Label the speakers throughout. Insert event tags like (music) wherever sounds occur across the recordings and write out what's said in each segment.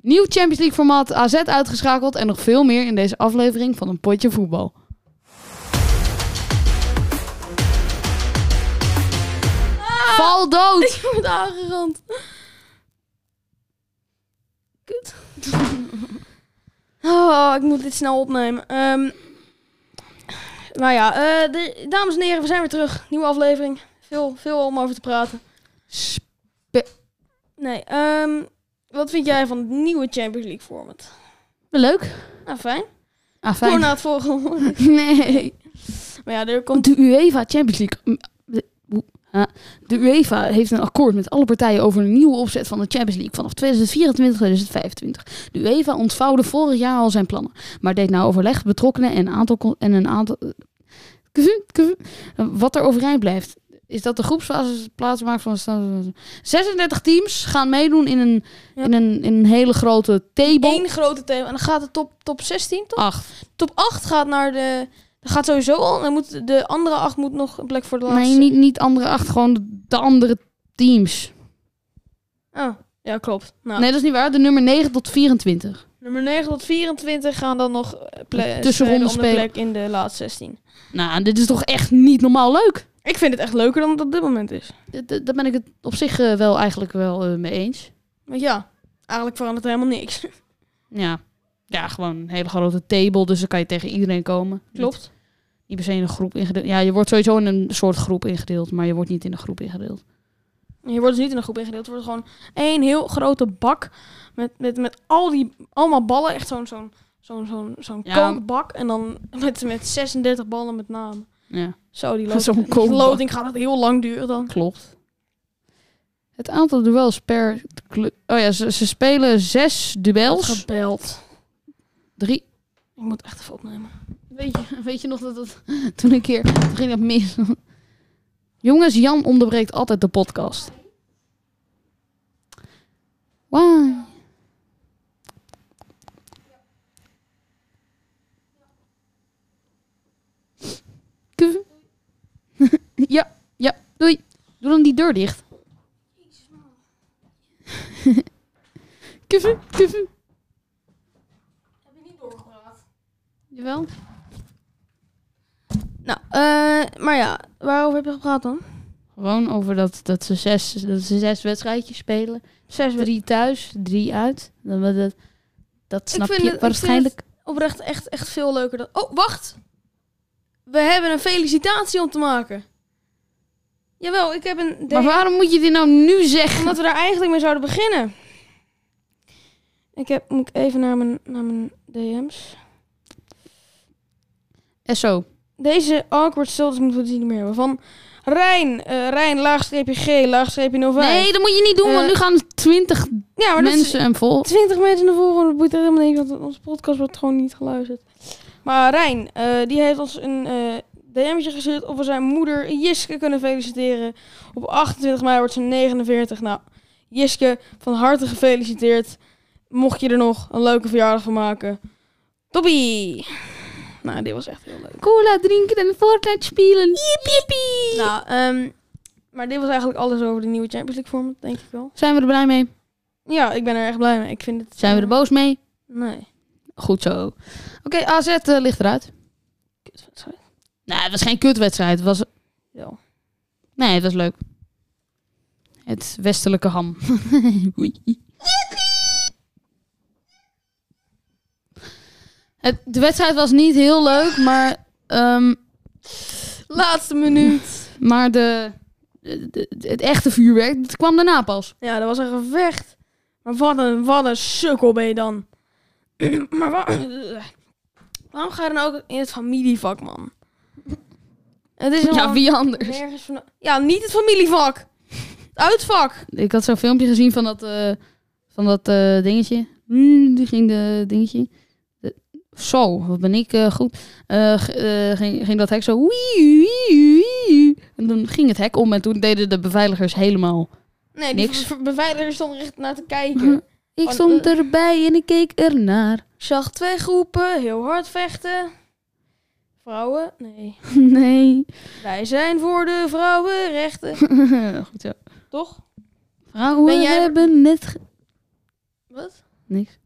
Speaker 1: Nieuw Champions League formaat AZ uitgeschakeld en nog veel meer in deze aflevering van een potje voetbal.
Speaker 2: (laughs)
Speaker 1: Val dood!
Speaker 2: Ik word Ah! aangerand. Kut. (laughs) Oh, ik moet dit snel opnemen. Ehm maar ja, eh, de, dames en heren, we zijn weer terug. Nieuwe aflevering. Veel, veel om over te praten.
Speaker 1: Spe-
Speaker 2: Nee, ehm, wat vind jij van het nieuwe Champions League format?
Speaker 1: Leuk.
Speaker 2: Nou, fijn.
Speaker 1: Ah,
Speaker 2: Voor na
Speaker 1: fijn.
Speaker 2: het (laughs) volgende.
Speaker 1: (laughs) Nee.
Speaker 2: maar ja, er komt...
Speaker 1: De UEFA Champions League. De UEFA heeft een akkoord met alle partijen over een nieuwe opzet van de Champions League vanaf 2024-2025. De UEFA ontvouwde vorig jaar al zijn plannen, maar deed nou overleg met betrokkenen en, een aantal con- en een aantal. eh, Wat er overeind blijft, is dat de groepsfase plaatsmaakt van 36 teams gaan meedoen in een,
Speaker 2: Ja.
Speaker 1: in een, in een hele grote table.
Speaker 2: Eén grote thema. En dan gaat de top, top 16, toch?
Speaker 1: 8.
Speaker 2: Top 8 gaat naar de... Dat gaat sowieso al. Dan moet de andere 8 moet nog een plek voor de laatste.
Speaker 1: Nee, niet, niet andere acht, gewoon de- de andere teams.
Speaker 2: Oh, ja, klopt. Nou,
Speaker 1: Nee, dat is niet waar. De nummer 9 tot 24.
Speaker 2: Nummer 9 tot 24 gaan dan nog eh, ple-
Speaker 1: Tussenronde
Speaker 2: spelen om de
Speaker 1: spelen.
Speaker 2: plek in de laatste 16.
Speaker 1: Nou, dit is toch echt niet normaal leuk?
Speaker 2: Ik vind het echt leuker dan het op dit moment is.
Speaker 1: D- d- Daar ben ik het op zich eh, wel eigenlijk wel eh, mee eens.
Speaker 2: Want ja, eigenlijk verandert er helemaal niks.
Speaker 1: Ja. ja, gewoon een hele grote table, dus dan kan je tegen iedereen komen. Niet,
Speaker 2: (laughs) Klopt.
Speaker 1: niet per se in een groep ingedeeld. Ja, je wordt sowieso in een soort groep ingedeeld, maar je wordt niet in een groep ingedeeld.
Speaker 2: Je wordt dus niet in een groep ingedeeld. Het wordt gewoon één heel grote bak met, met, met al die allemaal ballen. Echt zo'n zo'n zo'n zo'n zo'n
Speaker 1: Ja.
Speaker 2: kookbak. En dan (laughs) met, met 36 ballen met name.
Speaker 1: (laughs) Ja,
Speaker 2: Zo, die loting,
Speaker 1: Zo'n
Speaker 2: die
Speaker 1: kookbak.
Speaker 2: loting gaat het heel lang duren dan.
Speaker 1: klopt. Het aantal duels per... clu- Oh ja, ze, ze spelen zes duels.
Speaker 2: Gebeld.
Speaker 1: Drie,
Speaker 2: Ik moet echt even opnemen.
Speaker 1: Weet je, (laughs) weet je nog dat dat toen een keer toen ging dat mis? (laughs) Jongens, Jan onderbreekt altijd de podcast. Why? Kuv. (laughs) Ja, ja, doei. Doe dan die deur dicht. (laughs) Kuv, kuv.
Speaker 2: Heb je niet doorgepraat?
Speaker 1: Jawel.
Speaker 2: Nou, eh, maar ja, waarover heb je gepraat dan?
Speaker 1: Gewoon over dat, dat, ze zes, dat ze zes wedstrijdjes spelen.
Speaker 2: Zes
Speaker 1: Drie thuis, drie uit. Dan we dat, dat snap
Speaker 2: vind
Speaker 1: je
Speaker 2: het- ik
Speaker 1: waarschijnlijk.
Speaker 2: Oprecht echt, echt veel leuker dan... Oh, wacht! We hebben een felicitatie om te maken. Jawel, ik heb een...
Speaker 1: Maar waarom moet je dit nou nu zeggen?
Speaker 2: Omdat we daar eigenlijk mee zouden beginnen. Ik heb... Moet ik even naar mijn, naar mijn DM's.
Speaker 1: SO.
Speaker 2: Deze awkward stiltes moeten we die niet meer hebben. Van Rijn, eh, Rijn, laagstreepje G, laagstreepje 05.
Speaker 1: Nee, dat moet je niet doen, want
Speaker 2: Eh,
Speaker 1: nu gaan twintig
Speaker 2: ja, maar dat is-
Speaker 1: mensen en vol.
Speaker 2: 20 mensen naar voren, dat boeit er helemaal niks, want onze podcast wordt gewoon niet geluisterd. Maar Rijn, eh, die heeft ons een eh DM'tje gestuurd of we zijn moeder Jiske kunnen feliciteren. Op 28 mei wordt ze 49. Nou, Jiske, van harte gefeliciteerd. Mocht je er nog een leuke verjaardag van maken. Toppie! Nou, dit was echt heel leuk.
Speaker 1: Cola drinken en Fortnite spelen.
Speaker 2: Nou, ehm, maar dit was eigenlijk alles over de nieuwe Champions League format, denk ik wel.
Speaker 1: Zijn we er blij mee?
Speaker 2: Ja, ik ben er echt blij mee. Ik vind het...
Speaker 1: Zijn we er boos mee?
Speaker 2: Nee.
Speaker 1: Goed zo. Oké, AZ eh, ligt eruit.
Speaker 2: Kut, sorry.
Speaker 1: Nou, het was geen kutwedstrijd. Het was...
Speaker 2: Wel.
Speaker 1: Nee, het was leuk. Het westelijke ham. (laughs) Oei. Het, de wedstrijd was niet heel leuk, maar, ehm,
Speaker 2: Laatste minuut.
Speaker 1: maar de, de- de- het echte vuurwerk dat kwam daarna pas.
Speaker 2: Ja, dat was een gevecht. Maar wat een, wat een sukkel ben je dan. (clears throat) maar wa- (clears throat) waarom ga je dan ook in het familievak, man? Het is
Speaker 1: Ja,
Speaker 2: helemaal
Speaker 1: wie anders?
Speaker 2: nergens van... Ja, niet het familievak. Het uitvak.
Speaker 1: Ik had zo'n filmpje gezien van dat, eh, van dat eh, dingetje. Mm, die ging de dingetje. De- Zo, wat ben ik eh, goed. Eh, g- eh, ging, ging dat hek zo. Wii, wii, wii. En toen ging het hek om en toen deden de beveiligers helemaal.
Speaker 2: Nee, die
Speaker 1: Niks. Mhm.
Speaker 2: v- beveiliger stond er echt naar te kijken.
Speaker 1: Ik
Speaker 2: Oh,
Speaker 1: stond
Speaker 2: eh.
Speaker 1: erbij en ik keek ernaar. (laughs)
Speaker 2: Ik zag twee groepen heel hard vechten. Vrouwen? Nee.
Speaker 1: Nee. (laughs)
Speaker 2: Wij zijn voor de vrouwenrechten.
Speaker 1: goed zo.
Speaker 2: Toch?
Speaker 1: Vrouwen
Speaker 2: Ben jij-
Speaker 1: hebben net. ge-
Speaker 2: Wat?
Speaker 1: Niks.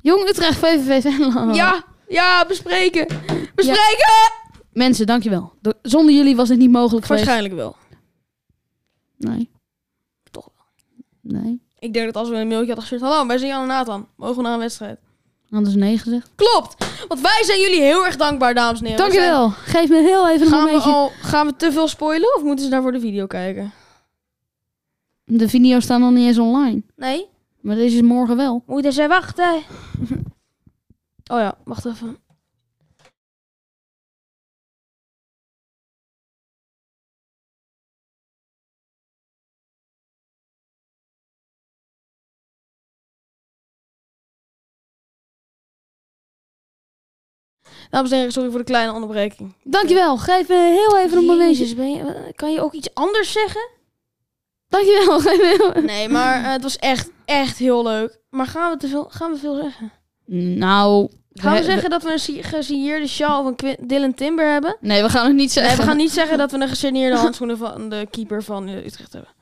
Speaker 1: Jong Utrecht VVV Venlo.
Speaker 2: Ja, ja, bespreken. Bespreken!
Speaker 1: Mensen, dankjewel. Door- Zonder jullie was dit niet mogelijk geweest.
Speaker 2: Waarschijnlijk wel.
Speaker 1: Nee.
Speaker 2: Toch
Speaker 1: wel. Nee.
Speaker 2: Ik denk dat als we een mailtje hadden gestuurd, hallo, wij zijn Jan en Nathan. Mogen we naar een wedstrijd?
Speaker 1: Anders nee gezegd.
Speaker 2: Klopt! Want wij zijn jullie heel erg dankbaar, dames en heren.
Speaker 1: Dankjewel. Geef me heel even
Speaker 2: We
Speaker 1: een
Speaker 2: zijn- Gaan we,
Speaker 1: momentje.
Speaker 2: al, gaan we te veel spoilen of moeten ze daarvoor de video kijken?
Speaker 1: De video's staan nog niet eens online.
Speaker 2: Nee,
Speaker 1: Maar deze is morgen wel.
Speaker 2: moeten ze wachten. oh ja, wacht even. Dames en heren, sorry voor de kleine onderbreking.
Speaker 1: Dankjewel. Geef me heel even een momentje.
Speaker 2: Jezus, ben je, kan je ook iets anders zeggen?
Speaker 1: Dankjewel. Geef me heel...
Speaker 2: Nee, maar eh, het was echt, echt heel leuk. Maar gaan we, te veel, gaan we veel zeggen?
Speaker 1: Nou.
Speaker 2: Gaan we
Speaker 1: we-
Speaker 2: zeggen dat we een si- gesigneerde sjaal van Quin- Dylan Timber hebben?
Speaker 1: Nee, we gaan het niet zeggen.
Speaker 2: Nee, we gaan niet
Speaker 1: (laughs)
Speaker 2: zeggen dat we een gesigneerde handschoenen van de keeper van eh, Utrecht hebben.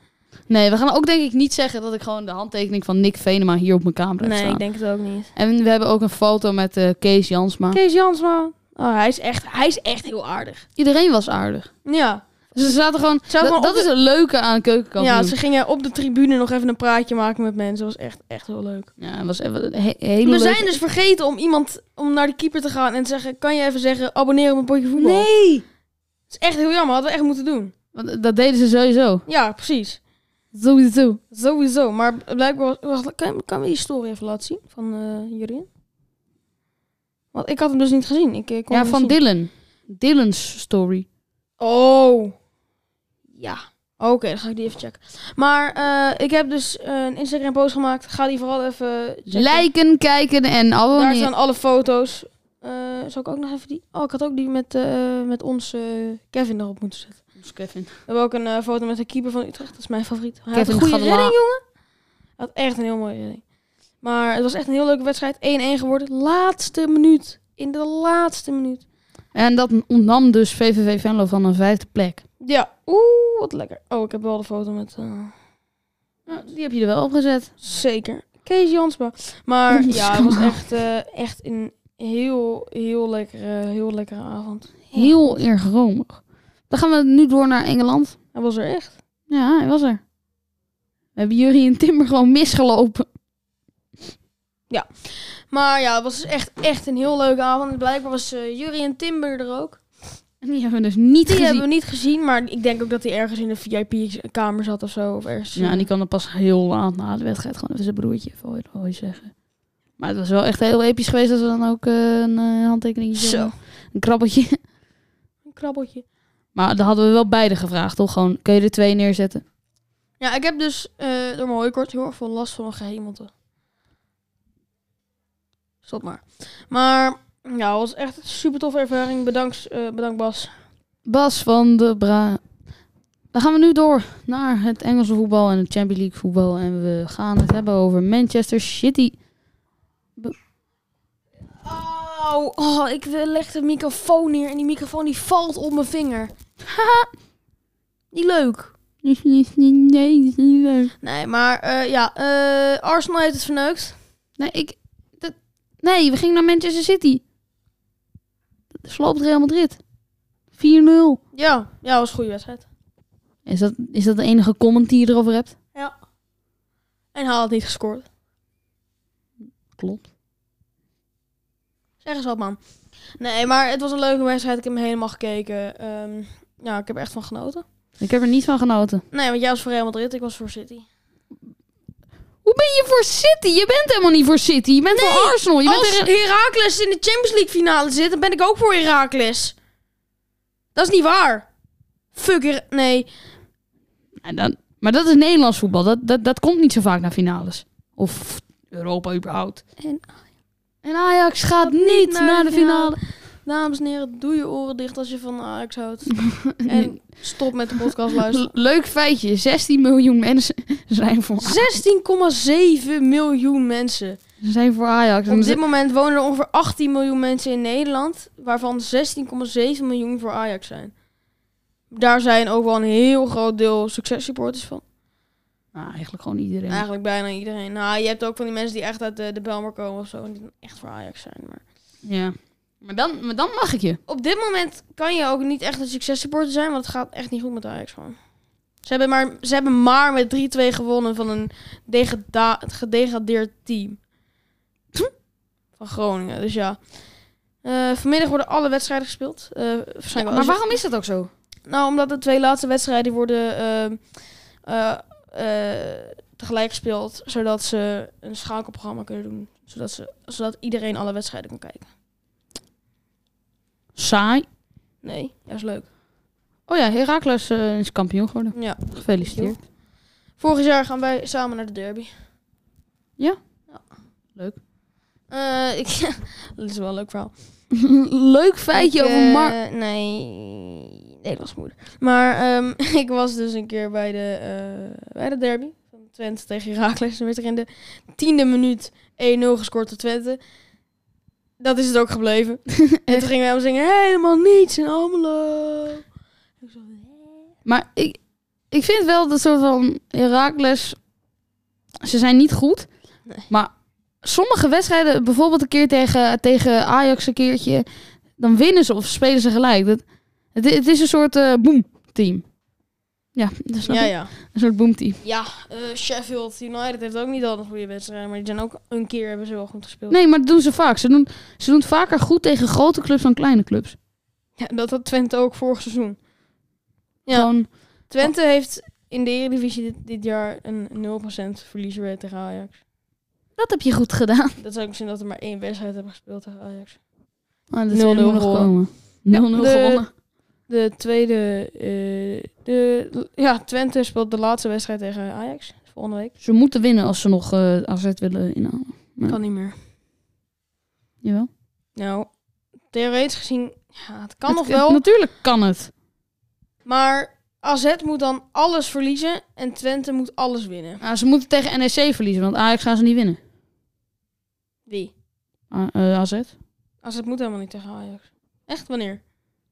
Speaker 1: Nee, we gaan ook denk ik niet zeggen dat ik gewoon de handtekening van Nick Venema hier op mijn kamer heb
Speaker 2: Nee,
Speaker 1: staan.
Speaker 2: ik denk het ook niet.
Speaker 1: En we hebben ook een foto met eh, Kees Jansma.
Speaker 2: Kees Jansma. Oh, hij, is echt, hij is echt heel aardig.
Speaker 1: Iedereen was aardig.
Speaker 2: Ja.
Speaker 1: Ze zaten gewoon...
Speaker 2: Ze hadden
Speaker 1: dat
Speaker 2: gewoon
Speaker 1: dat
Speaker 2: op
Speaker 1: is het leuke aan keukenkamp.
Speaker 2: ja, ze gingen op de tribune nog even een praatje maken met mensen. Dat was echt, echt heel leuk.
Speaker 1: Ja, het was even een he- hele
Speaker 2: We
Speaker 1: leuke-
Speaker 2: zijn dus vergeten om iemand om naar de keeper te gaan en te zeggen: Kan je even zeggen, abonneer op een potje voetbal?
Speaker 1: Nee!
Speaker 2: Dat is echt heel jammer, hadden we echt moeten doen.
Speaker 1: Want eh, dat deden ze sowieso.
Speaker 2: Ja, precies.
Speaker 1: Sowieso.
Speaker 2: Sowieso, maar blijkbaar... was- Wacht, kan, kan we die story even laten zien van eh Jurien? Want ik had hem dus niet gezien. Ik, eh, kon
Speaker 1: Ja,
Speaker 2: hem
Speaker 1: van
Speaker 2: niet zien.
Speaker 1: Dylan. Dylan's story.
Speaker 2: Oh. Ja. Oké, dan ga ik die even checken. Maar eh, ik heb dus een Instagram post gemaakt. Ga die vooral even checken.
Speaker 1: Liken, kijken en
Speaker 2: Daar
Speaker 1: abonneren.
Speaker 2: staan alle foto's. Eh zal ik ook nog even die... Oh, ik had ook die met, eh, met ons eh, Kevin erop moeten zetten.
Speaker 1: Kevin.
Speaker 2: We hebben ook een eh, foto met de keeper van Utrecht. Dat is mijn favoriet. Hij had
Speaker 1: Kevin
Speaker 2: een goede
Speaker 1: Gadela.
Speaker 2: redding, jongen. Hij had echt een heel mooie redding. Maar het was echt een heel leuke wedstrijd. 1-1 geworden. Laatste minuut. In de laatste minuut.
Speaker 1: En dat ontnam dus VVV Venlo van een vijfde plek.
Speaker 2: Ja. Oeh, wat lekker. Oh, ik heb wel de foto met... eh,
Speaker 1: Nou, die heb je er wel opgezet.
Speaker 2: zeker. Kees Jansma. Maar
Speaker 1: Jansma.
Speaker 2: ja, het was echt, eh, echt een heel, heel lekkere, heel lekkere avond.
Speaker 1: Heel erg romig. Dan gaan we nu door naar Engeland.
Speaker 2: Hij was er echt.
Speaker 1: Ja, hij was er. We hebben jullie in Timber gewoon misgelopen.
Speaker 2: Maar ja, het was dus echt, echt een heel leuke avond. En Blijkbaar was eh Jury en Timber er ook.
Speaker 1: En die hebben we dus niet
Speaker 2: Die
Speaker 1: gezien.
Speaker 2: hebben we niet gezien, maar ik denk ook dat hij ergens in de VIP-kamer zat of zo. Of ergens.
Speaker 1: Ja, en die kan dan pas heel laat na de wedstrijd gewoon even zijn broertje even hooi, hooi zeggen. Maar het was wel echt heel episch geweest dat we dan ook eh, een eh, handtekening
Speaker 2: Zo.
Speaker 1: Een krabbeltje. (laughs)
Speaker 2: Een krabbeltje.
Speaker 1: Maar daar hadden we wel beide gevraagd, toch? Gewoon, kun je er twee neerzetten?
Speaker 2: Ja, ik heb dus eh, door mijn hooikort heel erg veel last van mijn gehemelte. eh, Stop maar. Maar ja, het was echt een super toffe ervaring. Bedankt, eh, bedankt Bas.
Speaker 1: Bas van de Bra. Dan gaan we nu door naar het Engelse voetbal en het Champions League voetbal. En we gaan het hebben over Manchester City.
Speaker 2: Oh, oh, ik leg de microfoon neer en die microfoon die valt op mijn vinger. Niet leuk.
Speaker 1: Nee, is niet leuk.
Speaker 2: Nee, maar eh, ja, eh, Arsenal heeft het verneukt.
Speaker 1: Nee, ik... dat- nee, we gingen naar Manchester City. Sloopt Real Madrid. 4-0.
Speaker 2: Ja, ja, was een goede wedstrijd.
Speaker 1: Is dat, is dat de enige comment die je erover hebt?
Speaker 2: Ja. En Haal had niet gescoord.
Speaker 1: Klopt.
Speaker 2: Zeg eens wat, man. Nee, maar het was een leuke wedstrijd. Ik heb hem helemaal gekeken. Ehm, ja, ik heb er echt van genoten.
Speaker 1: Ik heb er niet van genoten.
Speaker 2: Nee, want jij was voor Real Madrid, ik was voor City.
Speaker 1: Hoe ben je voor City? Je bent helemaal niet voor City. Je bent voor Arsenal. Je bent
Speaker 2: Als
Speaker 1: er...
Speaker 2: Heracles in de Champions League finale zit, dan ben ik ook voor Heracles. Dat is niet waar. Fuck Her- Nee.
Speaker 1: Ja, dan- Maar dat is Nederlands voetbal. Dat, dat, dat komt niet zo vaak naar finales. Of Europa überhaupt.
Speaker 2: En-
Speaker 1: En Ajax gaat niet naar, de finale.
Speaker 2: Dames en heren, doe je oren dicht als je van Ajax
Speaker 1: (laughs)
Speaker 2: houdt. En stop met de podcast luisteren.
Speaker 1: Leuk feitje. 16 miljoen mensen (laughs) zijn voor,
Speaker 2: 16,7 miljoen mensen.
Speaker 1: zijn voor Ajax. En
Speaker 2: Op dit
Speaker 1: ze-
Speaker 2: moment wonen er ongeveer 18 miljoen mensen in Nederland, waarvan 16,7 miljoen voor Ajax zijn. Daar zijn ook wel een heel groot deel successupporters van.
Speaker 1: Nou, eigenlijk gewoon iedereen.
Speaker 2: Eigenlijk bijna iedereen. Nou, je hebt ook van die mensen die echt uit de, de Belmer komen of zo. En die dan echt voor Ajax zijn. Maar
Speaker 1: Ja. Maar dan, maar dan mag ik je.
Speaker 2: op dit moment kan je ook niet echt een successupporter zijn. Want het gaat echt niet goed met Ajax gewoon. Ze hebben maar, ze hebben maar met 3-2 gewonnen van een degeda- gedegradeerd team. Van Groningen, dus ja. Eh, vanmiddag worden alle wedstrijden gespeeld. Eh, waarschijnlijk wel-
Speaker 1: maar waarom is dat ook zo?
Speaker 2: Nou, omdat de twee laatste wedstrijden worden ehm, eh, eh, tegelijk gespeeld, zodat ze een schakelprogramma kunnen doen. Zodat, ze, zodat iedereen alle wedstrijden kan kijken.
Speaker 1: Saai.
Speaker 2: Nee, dat is leuk.
Speaker 1: Oh ja, Herakles eh, is kampioen geworden.
Speaker 2: Ja.
Speaker 1: Gefeliciteerd.
Speaker 2: Vorig jaar gaan wij samen naar de derby.
Speaker 1: Ja?
Speaker 2: Ja.
Speaker 1: Leuk.
Speaker 2: Eh, ik, (laughs) dat is wel een leuk verhaal.
Speaker 1: (laughs) Leuk feitje
Speaker 2: Ik,
Speaker 1: over
Speaker 2: eh,
Speaker 1: Mark.
Speaker 2: Nee, nee, dat was moeder. Maar ehm, (laughs) ik was dus een keer bij de, eh, bij de derby van Twente tegen Heracles. Er werd er in de tiende minuut 1-0 gescoord door Twente. Dat is het ook gebleven.
Speaker 1: (laughs)
Speaker 2: en toen gingen wij hem zingen, helemaal niets in Almelo. Ik zo, "Hè?"
Speaker 1: Maar ik, ik vind wel dat soort van Herakles. Ze zijn niet goed.
Speaker 2: Nee.
Speaker 1: Maar sommige wedstrijden, bijvoorbeeld een keer tegen, tegen Ajax een keertje. Dan winnen ze of spelen ze gelijk. Dat, het, het is een soort eh boomteam. Ja, dat snap
Speaker 2: Ja,
Speaker 1: ik.
Speaker 2: ja.
Speaker 1: Een soort boomteam.
Speaker 2: Ja, eh, Sheffield United heeft ook niet altijd goede wedstrijden. Maar die zijn ook een keer hebben ze wel goed gespeeld.
Speaker 1: Nee, maar dat doen ze vaak. Ze doen, ze doen het vaker goed tegen grote clubs dan kleine clubs.
Speaker 2: Ja, dat had Twente ook vorig seizoen. Ja.
Speaker 1: Gewoon,
Speaker 2: Twente heeft in de Eredivisie dit, dit jaar een 0% verliesrate tegen Ajax.
Speaker 1: dat heb je goed gedaan.
Speaker 2: Dat zou ik zien dat er maar één wedstrijd hebben gespeeld tegen Ajax.
Speaker 1: Ah,
Speaker 2: 0-0
Speaker 1: dat 0-0 nog
Speaker 2: gewonnen.
Speaker 1: komen. 0-0
Speaker 2: de-
Speaker 1: gewonnen.
Speaker 2: De tweede, eh, de, ja, Twente speelt de laatste wedstrijd tegen Ajax volgende week.
Speaker 1: Ze moeten winnen als ze nog eh AZ willen inhalen.
Speaker 2: Kan niet meer.
Speaker 1: Jawel.
Speaker 2: Nou, theoretisch gezien, ja, het kan
Speaker 1: Het-
Speaker 2: nog
Speaker 1: het-
Speaker 2: wel.
Speaker 1: natuurlijk kan het.
Speaker 2: Maar AZ moet dan alles verliezen en Twente moet alles winnen.
Speaker 1: Nou, ze moeten tegen NEC verliezen, want Ajax gaan ze niet winnen.
Speaker 2: Wie?
Speaker 1: A- eh, AZ?
Speaker 2: AZ moet helemaal niet tegen Ajax. Echt, wanneer?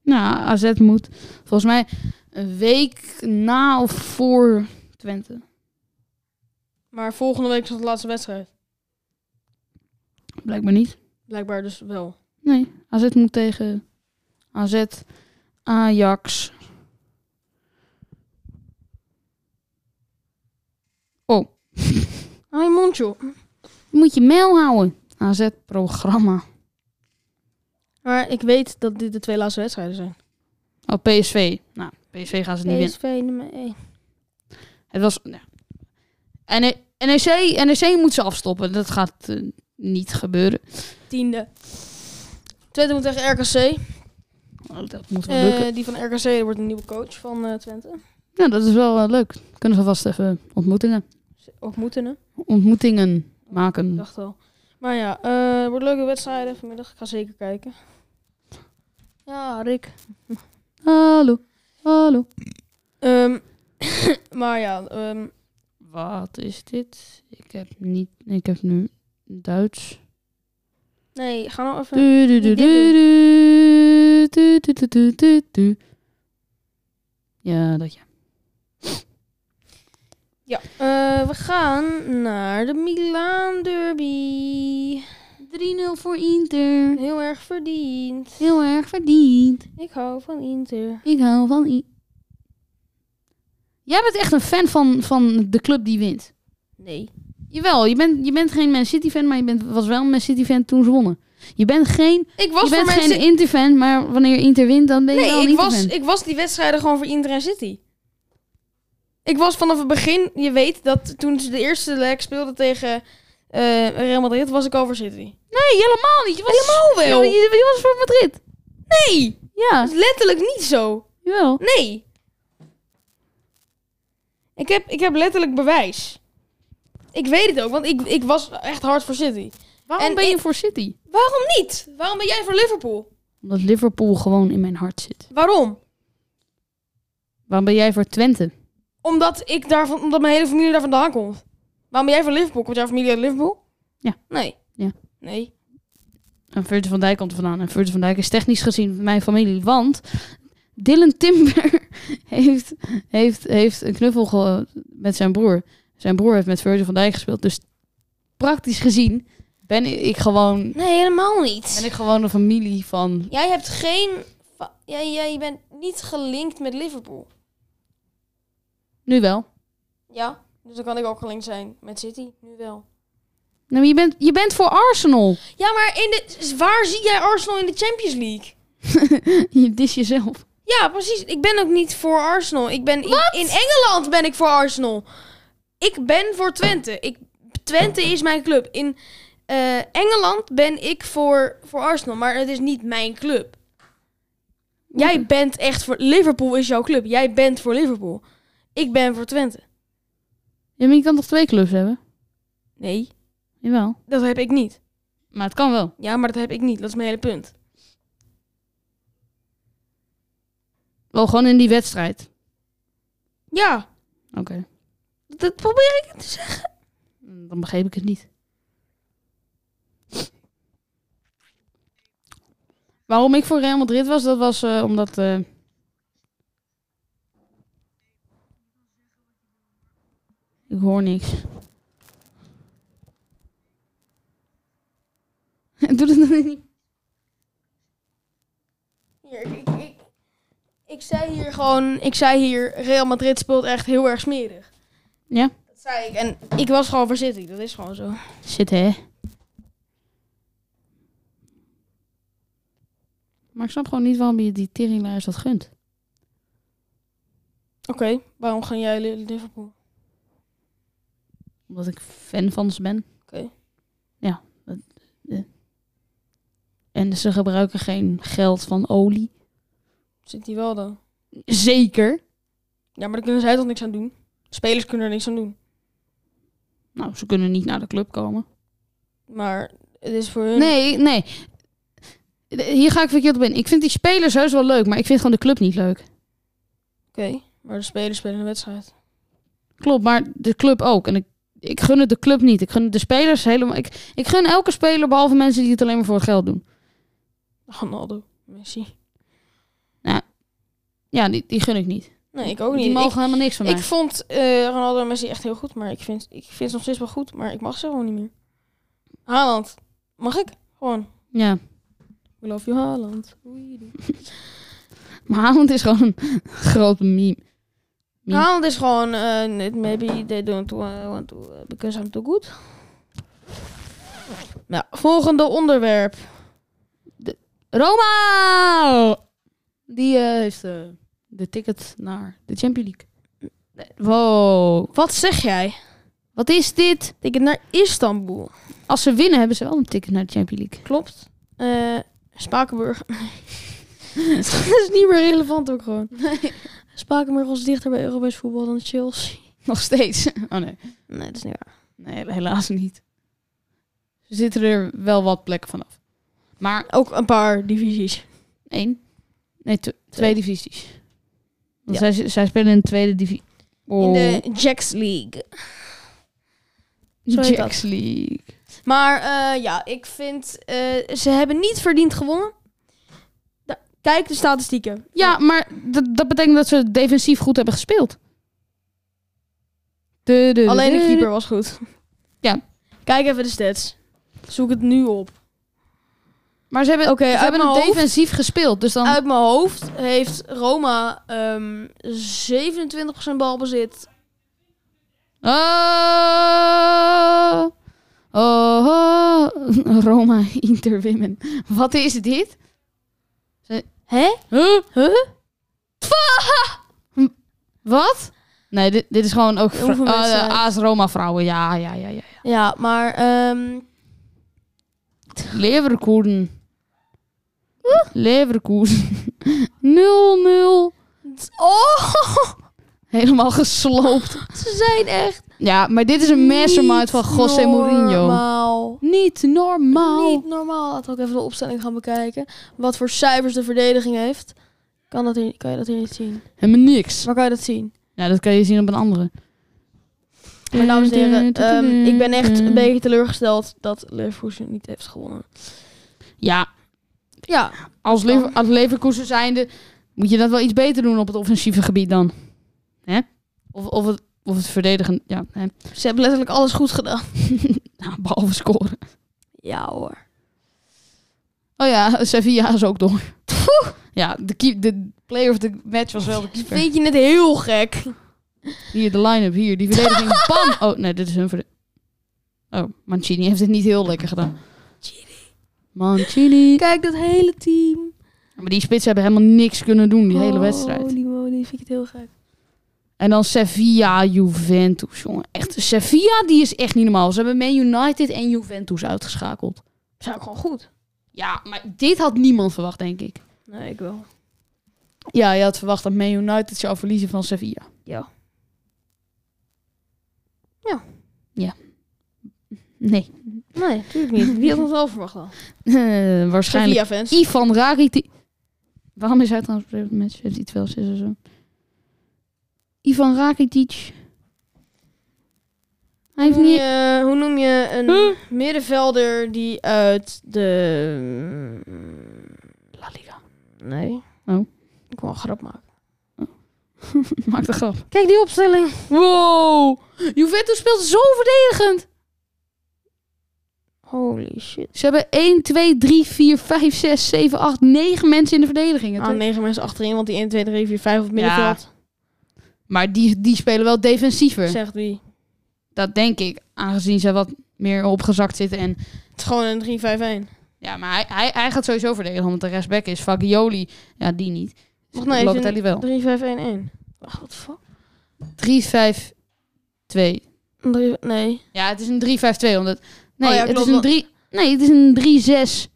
Speaker 1: Nou, AZ moet volgens mij een week na of voor Twente.
Speaker 2: Maar volgende week is dat de laatste wedstrijd.
Speaker 1: Blijkbaar niet.
Speaker 2: Blijkbaar dus wel.
Speaker 1: Nee, AZ moet tegen AZ, Ajax.
Speaker 2: Hou je mond, joh.
Speaker 1: Moet je mail houden. AZ-programma.
Speaker 2: Maar ik weet dat dit de twee laatste wedstrijden zijn.
Speaker 1: Oh, PSV. Nou, PSV gaan ze niet winnen.
Speaker 2: PSV nummer 1.
Speaker 1: Het was... Ja. E, NE- NEC, NEC moet E ze afstoppen. Dat gaat eh, niet gebeuren.
Speaker 2: Tiende. Twente moet tegen RKC.
Speaker 1: Oh, Dat moet wel lukken.
Speaker 2: Eh die van RKC wordt een nieuwe coach van eh, Twente.
Speaker 1: Ja, dat is wel eh, leuk. Kunnen ze vast even ontmoetingen,
Speaker 2: Ook moeten, hè?
Speaker 1: ontmoetingen
Speaker 2: Ik
Speaker 1: maken.
Speaker 2: dacht al. Maar ja, eh, het wordt leuke wedstrijden vanmiddag. Ik ga zeker kijken. Ja, Rick.
Speaker 1: Hallo, hallo.
Speaker 2: Ehm, (coughs) maar ja, ehm,
Speaker 1: Wat is dit? Ik heb niet, ik heb nu Duits.
Speaker 2: nee, ga nou even...
Speaker 1: Du, du, du,
Speaker 2: dit
Speaker 1: du, du, du, du, du, du, du, du. Ja, dat ja.
Speaker 2: Ja, eh, we gaan naar de Milaan Derby.
Speaker 1: 3-0 voor Inter.
Speaker 2: Heel erg verdiend.
Speaker 1: Heel erg verdiend.
Speaker 2: Ik hou van Inter.
Speaker 1: Ik hou van I. Jij bent echt een fan van, van de club die wint.
Speaker 2: Nee.
Speaker 1: Jawel, je bent, je bent geen Man City fan, maar je bent, was wel een Man City fan toen ze wonnen. Je bent geen,
Speaker 2: Ik was
Speaker 1: je bent
Speaker 2: voor
Speaker 1: geen
Speaker 2: mensen...
Speaker 1: Inter fan, maar wanneer Inter wint, dan ben je wel
Speaker 2: Nee,
Speaker 1: een
Speaker 2: ik
Speaker 1: Inter
Speaker 2: was,
Speaker 1: fan.
Speaker 2: ik was die wedstrijden gewoon voor Inter en City. Ik was vanaf het begin, je weet dat toen ze de eerste leg speelden tegen eh, Real Madrid, was ik over City.
Speaker 1: Nee, helemaal niet. Je was,
Speaker 2: Helemaal
Speaker 1: Je,
Speaker 2: wel.
Speaker 1: je- je was voor Madrid.
Speaker 2: Nee, dat
Speaker 1: Ja,
Speaker 2: is letterlijk niet zo.
Speaker 1: jawel.
Speaker 2: Nee. Ik heb, ik heb letterlijk bewijs. Ik weet het ook, want ik, ik was echt hard voor City.
Speaker 1: Waarom
Speaker 2: En
Speaker 1: ben je
Speaker 2: ik-
Speaker 1: voor City?
Speaker 2: Waarom niet? Waarom ben jij voor Liverpool?
Speaker 1: Omdat Liverpool gewoon in mijn hart zit.
Speaker 2: Waarom?
Speaker 1: Waarom ben jij voor Twente?
Speaker 2: Omdat ik daarvan, omdat mijn hele familie daar vandaan komt. Waarom ben jij van Liverpool? Komt jouw familie uit Liverpool?
Speaker 1: Ja.
Speaker 2: Nee.
Speaker 1: Ja.
Speaker 2: Nee.
Speaker 1: En Virgil van Dijk komt er vandaan. En Virgil van Dijk is technisch gezien mijn familie, want (laughs) Dylan Timber heeft, heeft, heeft een knuffel ge- met zijn broer. Zijn broer heeft met Virgil van Dijk gespeeld. Dus praktisch gezien ben ik gewoon,
Speaker 3: Nee, helemaal niet.
Speaker 1: ben ik gewoon een familie van...
Speaker 3: Jij hebt geen... fa- Jij, jij bent niet gelinkt met Liverpool.
Speaker 1: Nu wel.
Speaker 3: Ja?
Speaker 2: Dus dan kan ik ook gelinkt zijn met City, nu wel.
Speaker 1: Nou, maar je, bent, je bent voor Arsenal. (laughs)
Speaker 2: Ja, maar in de, dus waar zie jij Arsenal in de Champions League?
Speaker 1: je dis jezelf.
Speaker 2: Ja, precies. Ik ben ook niet voor Arsenal. Ik ben in, in Engeland ben ik voor Arsenal. Ik ben voor Twente. Ik, Twente is mijn club. In eh, Engeland ben ik voor, voor Arsenal, maar het is niet mijn club. Jij bent echt voor Liverpool is jouw club. Jij bent voor Liverpool. Ik ben voor Twente.
Speaker 1: Ja, maar je kan toch twee clubs hebben?
Speaker 2: Nee,
Speaker 1: Jawel.
Speaker 2: dat heb ik niet.
Speaker 1: Maar het kan wel.
Speaker 2: Ja, maar dat heb ik niet. Dat is mijn hele punt.
Speaker 1: Wel gewoon in die wedstrijd.
Speaker 2: Ja,
Speaker 1: Oké.
Speaker 2: dat probeer ik te zeggen.
Speaker 1: Mm, Dan begreep ik het niet. Waarom ik voor Real Madrid was, dat was eh, omdat... eh, Ik hoor niks. (laughs) Doe dat dan niet.
Speaker 2: Hier, ik, ik, ik, ik zei hier gewoon, ik zei hier, Real Madrid speelt echt heel erg smerig.
Speaker 1: Ja?
Speaker 2: Dat zei ik. En ik was gewoon voor City, dat is gewoon zo.
Speaker 1: Shit, hè? Maar ik snap gewoon niet waarom je die teringlaars dat gunt.
Speaker 2: Oké, waarom gaan jij Li- Liverpool?
Speaker 1: Omdat ik fan van ze ben.
Speaker 2: Oké.
Speaker 1: Ja. dat- eh. En ze gebruiken geen geld van olie.
Speaker 2: City wel dan.
Speaker 1: Zeker.
Speaker 2: Ja, maar daar kunnen zij toch niks aan doen? Spelers kunnen er niks aan doen.
Speaker 1: Nou, ze kunnen niet naar de club komen.
Speaker 2: Maar het is voor hun...
Speaker 1: Nee, nee. De- Hier ga ik verkeerd op in. Ik vind die spelers heus wel leuk, maar ik vind gewoon de club niet leuk.
Speaker 2: Oké, maar de spelers spelen een wedstrijd.
Speaker 1: Klopt, maar de club ook. En ik, ik gun het de club niet. Ik gun het de spelers helemaal. Ik, ik gun elke speler, behalve mensen die het alleen maar voor het geld doen.
Speaker 2: Ronaldo, Messi.
Speaker 1: Ja, die, die gun ik niet.
Speaker 2: Nee, ik ook niet.
Speaker 1: Die mogen
Speaker 2: ik,
Speaker 1: helemaal niks van mij.
Speaker 2: ik vond eh, Ronaldo en Messi echt heel goed, maar ik vind, ik vind ze nog steeds wel goed. Maar ik mag ze gewoon niet meer. Haaland, mag ik? Gewoon.
Speaker 1: Ja.
Speaker 2: We love you, Haaland.
Speaker 1: Maar Haaland is gewoon een (laughs) groot meme. Ja.
Speaker 2: Haaland is gewoon, eh, maybe they don't wa- want to, eh, because I'm too good. Nou, volgende onderwerp.
Speaker 1: Roma! Die eh, heeft eh, de ticket naar de Champions League. Nee, Wow.
Speaker 2: Wat zeg jij?
Speaker 1: Wat is dit?
Speaker 2: Ticket naar Istanbul.
Speaker 1: Als ze winnen, hebben ze wel een ticket naar de Champions League. (laughs)
Speaker 2: Klopt. Eh, Spakenburg. (laughs) Dat is niet meer relevant ook (laughs) gewoon. Spakenburg was dichter bij Europees voetbal dan Chelsea.
Speaker 1: Nog steeds. Oh nee.
Speaker 2: Nee, dat is niet waar.
Speaker 1: Nee, helaas niet. Ze zitten er wel wat plekken vanaf. Maar
Speaker 2: Ook een paar divisies.
Speaker 1: één. Nee, tw- twee
Speaker 2: Twee.
Speaker 1: divisies. Want zij, zij spelen in de tweede divisie. Oh.
Speaker 2: In de Jacks League. zo heet
Speaker 1: Jacks League.
Speaker 2: Maar eh, ja, ik vind... eh, ze hebben niet verdiend gewonnen. Da- Kijk de statistieken.
Speaker 1: Ja, maar dat, dat betekent dat ze defensief goed hebben gespeeld. De, de,
Speaker 2: Alleen de keeper was goed.
Speaker 1: Ja.
Speaker 2: Kijk even de stats. Zoek het nu op.
Speaker 1: Maar ze hebben,
Speaker 2: Oké,
Speaker 1: ze
Speaker 2: uit
Speaker 1: hebben
Speaker 2: mijn
Speaker 1: het
Speaker 2: hoofd.
Speaker 1: defensief gespeeld. Dus dan
Speaker 2: Uit mijn hoofd heeft Roma ehm 27% balbezit.
Speaker 1: Oh, oh, oh. (laughs) Roma Inter Women. Wat is dit? Ze-
Speaker 2: Hè?
Speaker 1: Huh?
Speaker 2: Huh?
Speaker 1: Hm, Wat? Nee, dit, dit is gewoon ook vrou-
Speaker 2: Oefenwedstrijd.
Speaker 1: eh, AS Roma vrouwen. Ja, ja, ja, ja. ja.
Speaker 2: Ja, maar ehm,
Speaker 1: Leverkusen. Leverkusen. (laughs) 0-0.
Speaker 2: oh, (laughs)
Speaker 1: Helemaal gesloopt.
Speaker 2: ze zijn echt
Speaker 1: Ja, maar dit is een mastermind van José Mourinho.
Speaker 2: Normaal.
Speaker 1: Niet normaal.
Speaker 2: Niet normaal. Laten we ook even de opstelling gaan bekijken. Wat voor cijfers de verdediging heeft. Kan, dat hier, kan je dat hier niet zien?
Speaker 1: Helemaal niks.
Speaker 2: Waar kan je dat zien?
Speaker 1: Ja, dat kan je zien op een andere.
Speaker 2: Maar dames en heren, ehm, ik ben echt een beetje teleurgesteld dat Leverkusen niet heeft gewonnen.
Speaker 1: Ja,
Speaker 2: Ja,
Speaker 1: als, Lever als Leverkusen zijnde moet je dat wel iets beter doen op het offensieve gebied dan. Hè? Of, of het Of het verdedigen. Ja, hè.
Speaker 2: Ze hebben letterlijk alles goed gedaan.
Speaker 1: Nou, behalve scoren.
Speaker 2: Ja hoor.
Speaker 1: Oh ja, (laughs) Sevilla is ook door. Ja, de, keep, de player of the match was wel de keeper.
Speaker 2: Vind je het heel gek?
Speaker 1: Hier, de line-up hier. Die verdediging. Bam! Oh, nee, dit is hun verdediging. Oh, Mancini heeft het niet heel lekker gedaan. Mancini.
Speaker 2: Kijk, dat hele team.
Speaker 1: Maar die spitsen hebben helemaal niks kunnen doen, die
Speaker 2: Oh,
Speaker 1: hele wedstrijd.
Speaker 2: Holy moly, vind ik het heel gek.
Speaker 1: En dan Sevilla, Juventus, jongen. Echt, Sevilla, die is echt niet normaal. Ze hebben Man United en Juventus uitgeschakeld.
Speaker 2: Zijn gewoon goed.
Speaker 1: Ja, maar dit had niemand verwacht, denk ik.
Speaker 2: Nee, ik wel.
Speaker 1: Ja, je had verwacht dat Man United zou verliezen van Sevilla.
Speaker 2: Ja.
Speaker 1: Nee. (laughs)
Speaker 2: Nee, natuurlijk niet. Wie had dat wel verwacht dan?
Speaker 1: Eh, waarschijnlijk
Speaker 2: Sevilla fans.
Speaker 1: Ivan Rakitic. Waarom is hij trouwens op dit moment? Heeft iets wel zes of zo? Ivan Rakitic. Hij heeft
Speaker 2: Hoe noem
Speaker 1: niet...
Speaker 2: je, hoe noem je een middenvelder die uit de...
Speaker 1: La Liga.
Speaker 2: Nee.
Speaker 1: Oh.
Speaker 2: Ik wil een grap maken.
Speaker 1: (laughs) Maakt een grap.
Speaker 2: Kijk die opstelling.
Speaker 1: Wow! Juventus speelt zo verdedigend.
Speaker 2: Holy shit.
Speaker 1: Ze hebben 1, 2, 3, 4, 5, 6, 7, 8, 9 mensen in de verdediging.
Speaker 2: Aan Ah, negen mensen achterin, want die 1, 2, 3, 4, 5 op het
Speaker 1: Ja.
Speaker 2: middenveld.
Speaker 1: Maar die, die spelen wel defensiever.
Speaker 2: Zegt wie.
Speaker 1: Dat denk ik, aangezien ze wat meer opgezakt zitten. En,
Speaker 2: Het is gewoon een 3, 5, 1.
Speaker 1: ja, maar hij, hij, hij gaat sowieso verdedigen, want de restback is Fagioli. Ja, die niet.
Speaker 2: Wacht, nee, het is
Speaker 1: Locatelli wel.
Speaker 2: 3, 5, 1, 1. Wacht, wat fuck?
Speaker 1: 3, 5, 2.
Speaker 2: Een drie- nee.
Speaker 1: Ja, het is een 3, 5, 2. Omdat, nee,
Speaker 2: Oh ja,
Speaker 1: het
Speaker 2: klopt,
Speaker 1: is een
Speaker 2: want-
Speaker 1: 3... Nee, het is een 3, 6,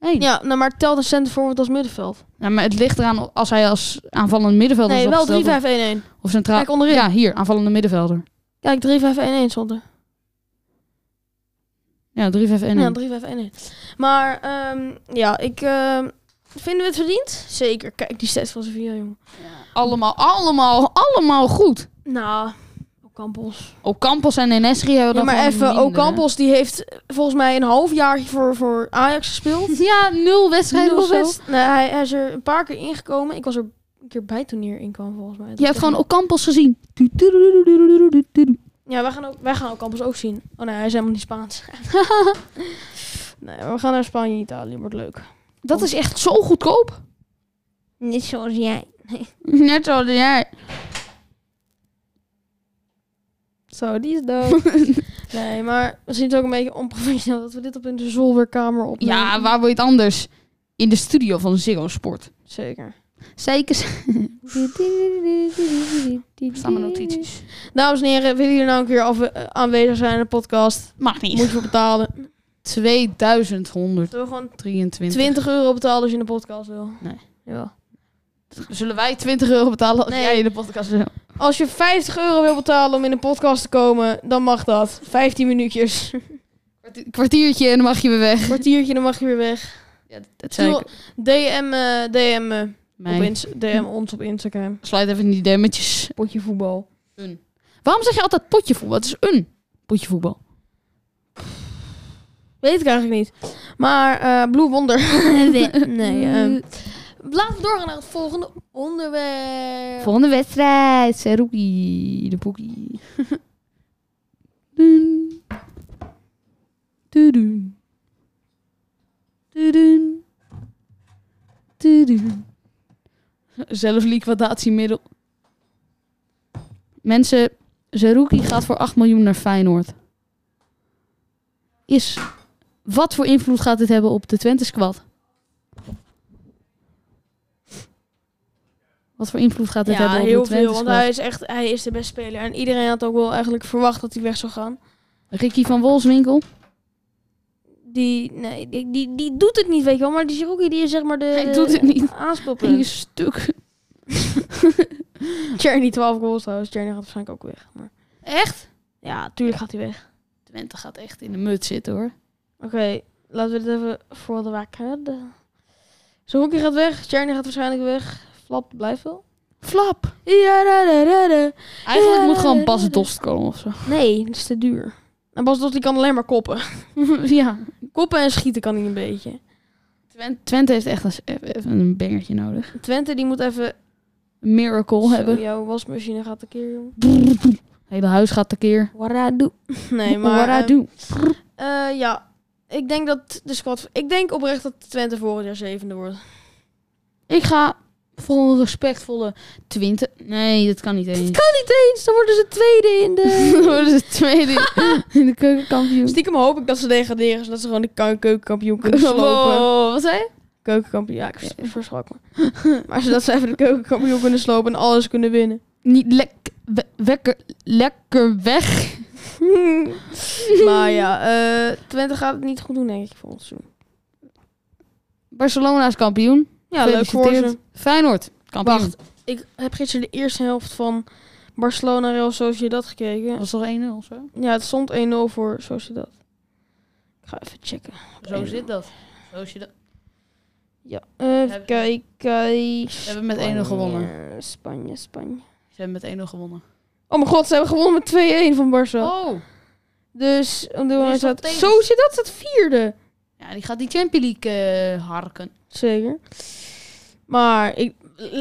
Speaker 1: 1. Ja.
Speaker 2: Ja, nou, maar tel de center forward als middenveld.
Speaker 1: maar het ligt eraan als hij als aanvallende middenvelder
Speaker 2: nee,
Speaker 1: is
Speaker 2: wel 3,
Speaker 1: opgesteld
Speaker 2: 5, 1, 1.
Speaker 1: Of centraal.
Speaker 2: Kijk onderin.
Speaker 1: Ja, hier, aanvallende middenvelder.
Speaker 2: Kijk, 3, 5, 1, 1 stond er.
Speaker 1: Ja, 3, 5, 1.
Speaker 2: Ja, 3, 5, 1, 1. Maar ehm, ja, ik... ehm, vinden we het verdiend? Zeker. Kijk, die stats van Sevilla, jongen.
Speaker 1: Allemaal, allemaal, allemaal goed.
Speaker 2: Nou, Ocampos.
Speaker 1: Ocampos en Enesri hebben
Speaker 2: Ja,
Speaker 1: dan
Speaker 2: maar
Speaker 1: gewoon
Speaker 2: even,
Speaker 1: minder, hè?
Speaker 2: Ocampos die heeft eh, volgens mij een half jaar voor, voor
Speaker 1: (laughs)
Speaker 2: Ajax gespeeld.
Speaker 1: Ja, nul wedstrijden
Speaker 2: Nul
Speaker 1: of zo.
Speaker 2: wedst- Nee, hij, hij is er een paar keer ingekomen. Ik was er een keer bij toen hij erin kwam, volgens mij.
Speaker 1: Je hebt gewoon Ocampos gezien. Du-du-du-du-du-du-du-du-du.
Speaker 2: Ja, wij gaan, ook, wij gaan Ocampos ook zien. Oh nee, hij is helemaal niet
Speaker 1: (laughs)
Speaker 2: Spaans. nee, we gaan naar Spanje, Italië. Wordt leuk.
Speaker 1: Dat is echt zo goedkoop.
Speaker 2: Niet zoals jij.
Speaker 1: Net zoals jij.
Speaker 2: Zo, die is dood. nee, maar we zien het ook een beetje onprofessioneel dat we dit op in de zolderkamer opnemen.
Speaker 1: Ja, waar wil je het anders? In de studio van Ziggo Sport.
Speaker 2: Zeker.
Speaker 1: Zeker. (laughs) Staan mijn notities.
Speaker 2: Dames en heren, willen jullie nou een keer afwe- eh, aanwezig zijn in de podcast?
Speaker 1: Mag
Speaker 2: Moet je
Speaker 1: niet.
Speaker 2: voor betalen.
Speaker 1: 2123.
Speaker 2: Zullen we gewoon 20 euro betalen als je in de podcast wil?
Speaker 1: Nee.
Speaker 2: Ja.
Speaker 1: Zullen wij 20 euro betalen als
Speaker 2: Nee.
Speaker 1: jij in de podcast wil?
Speaker 2: Als je 50 euro wil betalen om in de podcast te komen, dan mag dat. 15 minuutjes.
Speaker 1: Kwartiertje en dan mag je weer weg.
Speaker 2: Kwartiertje, dan mag je weer weg.
Speaker 1: Ja, dat
Speaker 2: zei
Speaker 1: zei
Speaker 2: ik. DM, eh, DM, eh, op
Speaker 1: ik.
Speaker 2: Insta- DM ons op Instagram.
Speaker 1: Sluit even die demmetjes.
Speaker 2: Potje voetbal.
Speaker 1: Waarom zeg je altijd potje voetbal? Het is een potje voetbal.
Speaker 2: Weet ik eigenlijk niet. Maar eh Blue Wonder. (laughs) nee.
Speaker 1: Eh,
Speaker 2: ehm, laten we doorgaan naar het volgende onderwerp.
Speaker 1: Volgende wedstrijd. Seruki, de poekie. (laughs) Dun. Tudun. Tudun. Tudun. Zelfliquidatiemiddel. Mensen, Zerouki gaat voor 8 miljoen naar Feyenoord. Is, wat voor invloed gaat dit hebben op de Twente squad? Wat voor invloed gaat dit
Speaker 2: ja,
Speaker 1: hebben op
Speaker 2: heel
Speaker 1: de Twente
Speaker 2: veel. Want
Speaker 1: squad?
Speaker 2: hij is echt hij is de beste speler. En iedereen had ook wel eigenlijk verwacht dat hij weg zou gaan.
Speaker 1: Ricky van Wolfswinkel.
Speaker 2: Die, nee, die, die, die doet het niet, weet je wel. Maar die Cherokee die is zeg maar de
Speaker 1: Hij doet het niet. Een
Speaker 2: aanspeelpunt.
Speaker 1: stuk.
Speaker 2: Cherny 12 goals trouwens. Cherny gaat waarschijnlijk ook weg. Maar
Speaker 1: Echt?
Speaker 2: ja, tuurlijk gaat hij weg.
Speaker 1: Twente gaat echt in de mut zitten hoor.
Speaker 2: Oké, laten we dit even voor de waak hebben. Zo'n hoekje gaat weg, Tjerny gaat waarschijnlijk weg. Flap blijft wel.
Speaker 1: Flap.
Speaker 2: Ja, da, da, da, da.
Speaker 1: Eigenlijk
Speaker 2: Ja,
Speaker 1: moet gewoon
Speaker 2: ja, ja.
Speaker 1: Bas Dost komen of zo.
Speaker 2: Nee, dat is te duur. En Bas Dost die kan alleen maar koppen.
Speaker 1: (laughs)
Speaker 2: (laughs)
Speaker 1: ja.
Speaker 2: Koppen en schieten kan hij een beetje.
Speaker 1: Twente, Twente heeft echt een, even een bengertje nodig.
Speaker 2: Twente die moet even...
Speaker 1: Een miracle
Speaker 2: Zo,
Speaker 1: hebben.
Speaker 2: Jouw wasmachine gaat een keer, jongen.
Speaker 1: hele huis gaat tekeer.
Speaker 3: Waradu.
Speaker 2: (laughs) Nee, maar...
Speaker 1: What I
Speaker 2: ehm,
Speaker 1: do.
Speaker 2: eh, ja, ik denk dat de squad... Ik denk oprecht dat Twente vorig jaar zevende wordt.
Speaker 1: Ik ga voor een respectvolle 20. Nee, dat kan niet eens. (laughs) Dat kan niet eens. Dan worden ze tweede in
Speaker 2: (laughs)
Speaker 1: de. Dan worden ze tweede (laughs) in- in de keukenkampioen.
Speaker 2: Stiekem hoop ik dat ze degraderen, zodat ze gewoon de keu- keukenkampioen (laughs) kunnen slopen.
Speaker 1: Wow, wat zei je?
Speaker 2: Keukenkampioen, ja, ik vers- verschrok me. maar zodat ze even de keukenkampioen kunnen slopen en alles kunnen winnen.
Speaker 1: (laughs) Niet lek, we- wekker, lekker weg.
Speaker 2: (laughs) maar ja, eh, Twente gaat het niet goed doen, denk ik, volgens seizoen.
Speaker 1: Barcelona is kampioen.
Speaker 2: Ja, leuk voor ze.
Speaker 1: Gefeliciteerd. Feyenoord, kampioen.
Speaker 2: Wacht, ik heb gisteren de eerste helft van Barcelona Real Sociedad gekeken.
Speaker 1: Dat was toch 1-0 of zo?
Speaker 2: Ja, het stond 1-0 voor Sociedad. Ik ga even checken. Zo zit
Speaker 1: dat. Zo zit dat.
Speaker 2: Ja, even
Speaker 1: Heb-
Speaker 2: kijken. We
Speaker 1: hebben met 1-0 gewonnen.
Speaker 2: Spanje, Spanje.
Speaker 1: Ze hebben met 1-0 gewonnen.
Speaker 2: Oh mijn god, ze hebben gewonnen met 2-1 van Barça.
Speaker 1: Oh.
Speaker 2: Dus, om de
Speaker 1: is dat
Speaker 2: staat...
Speaker 1: tegen?
Speaker 2: Sociedad staat vierde.
Speaker 1: Ja, die gaat die Champions League eh, harken.
Speaker 2: Zeker. Maar ik,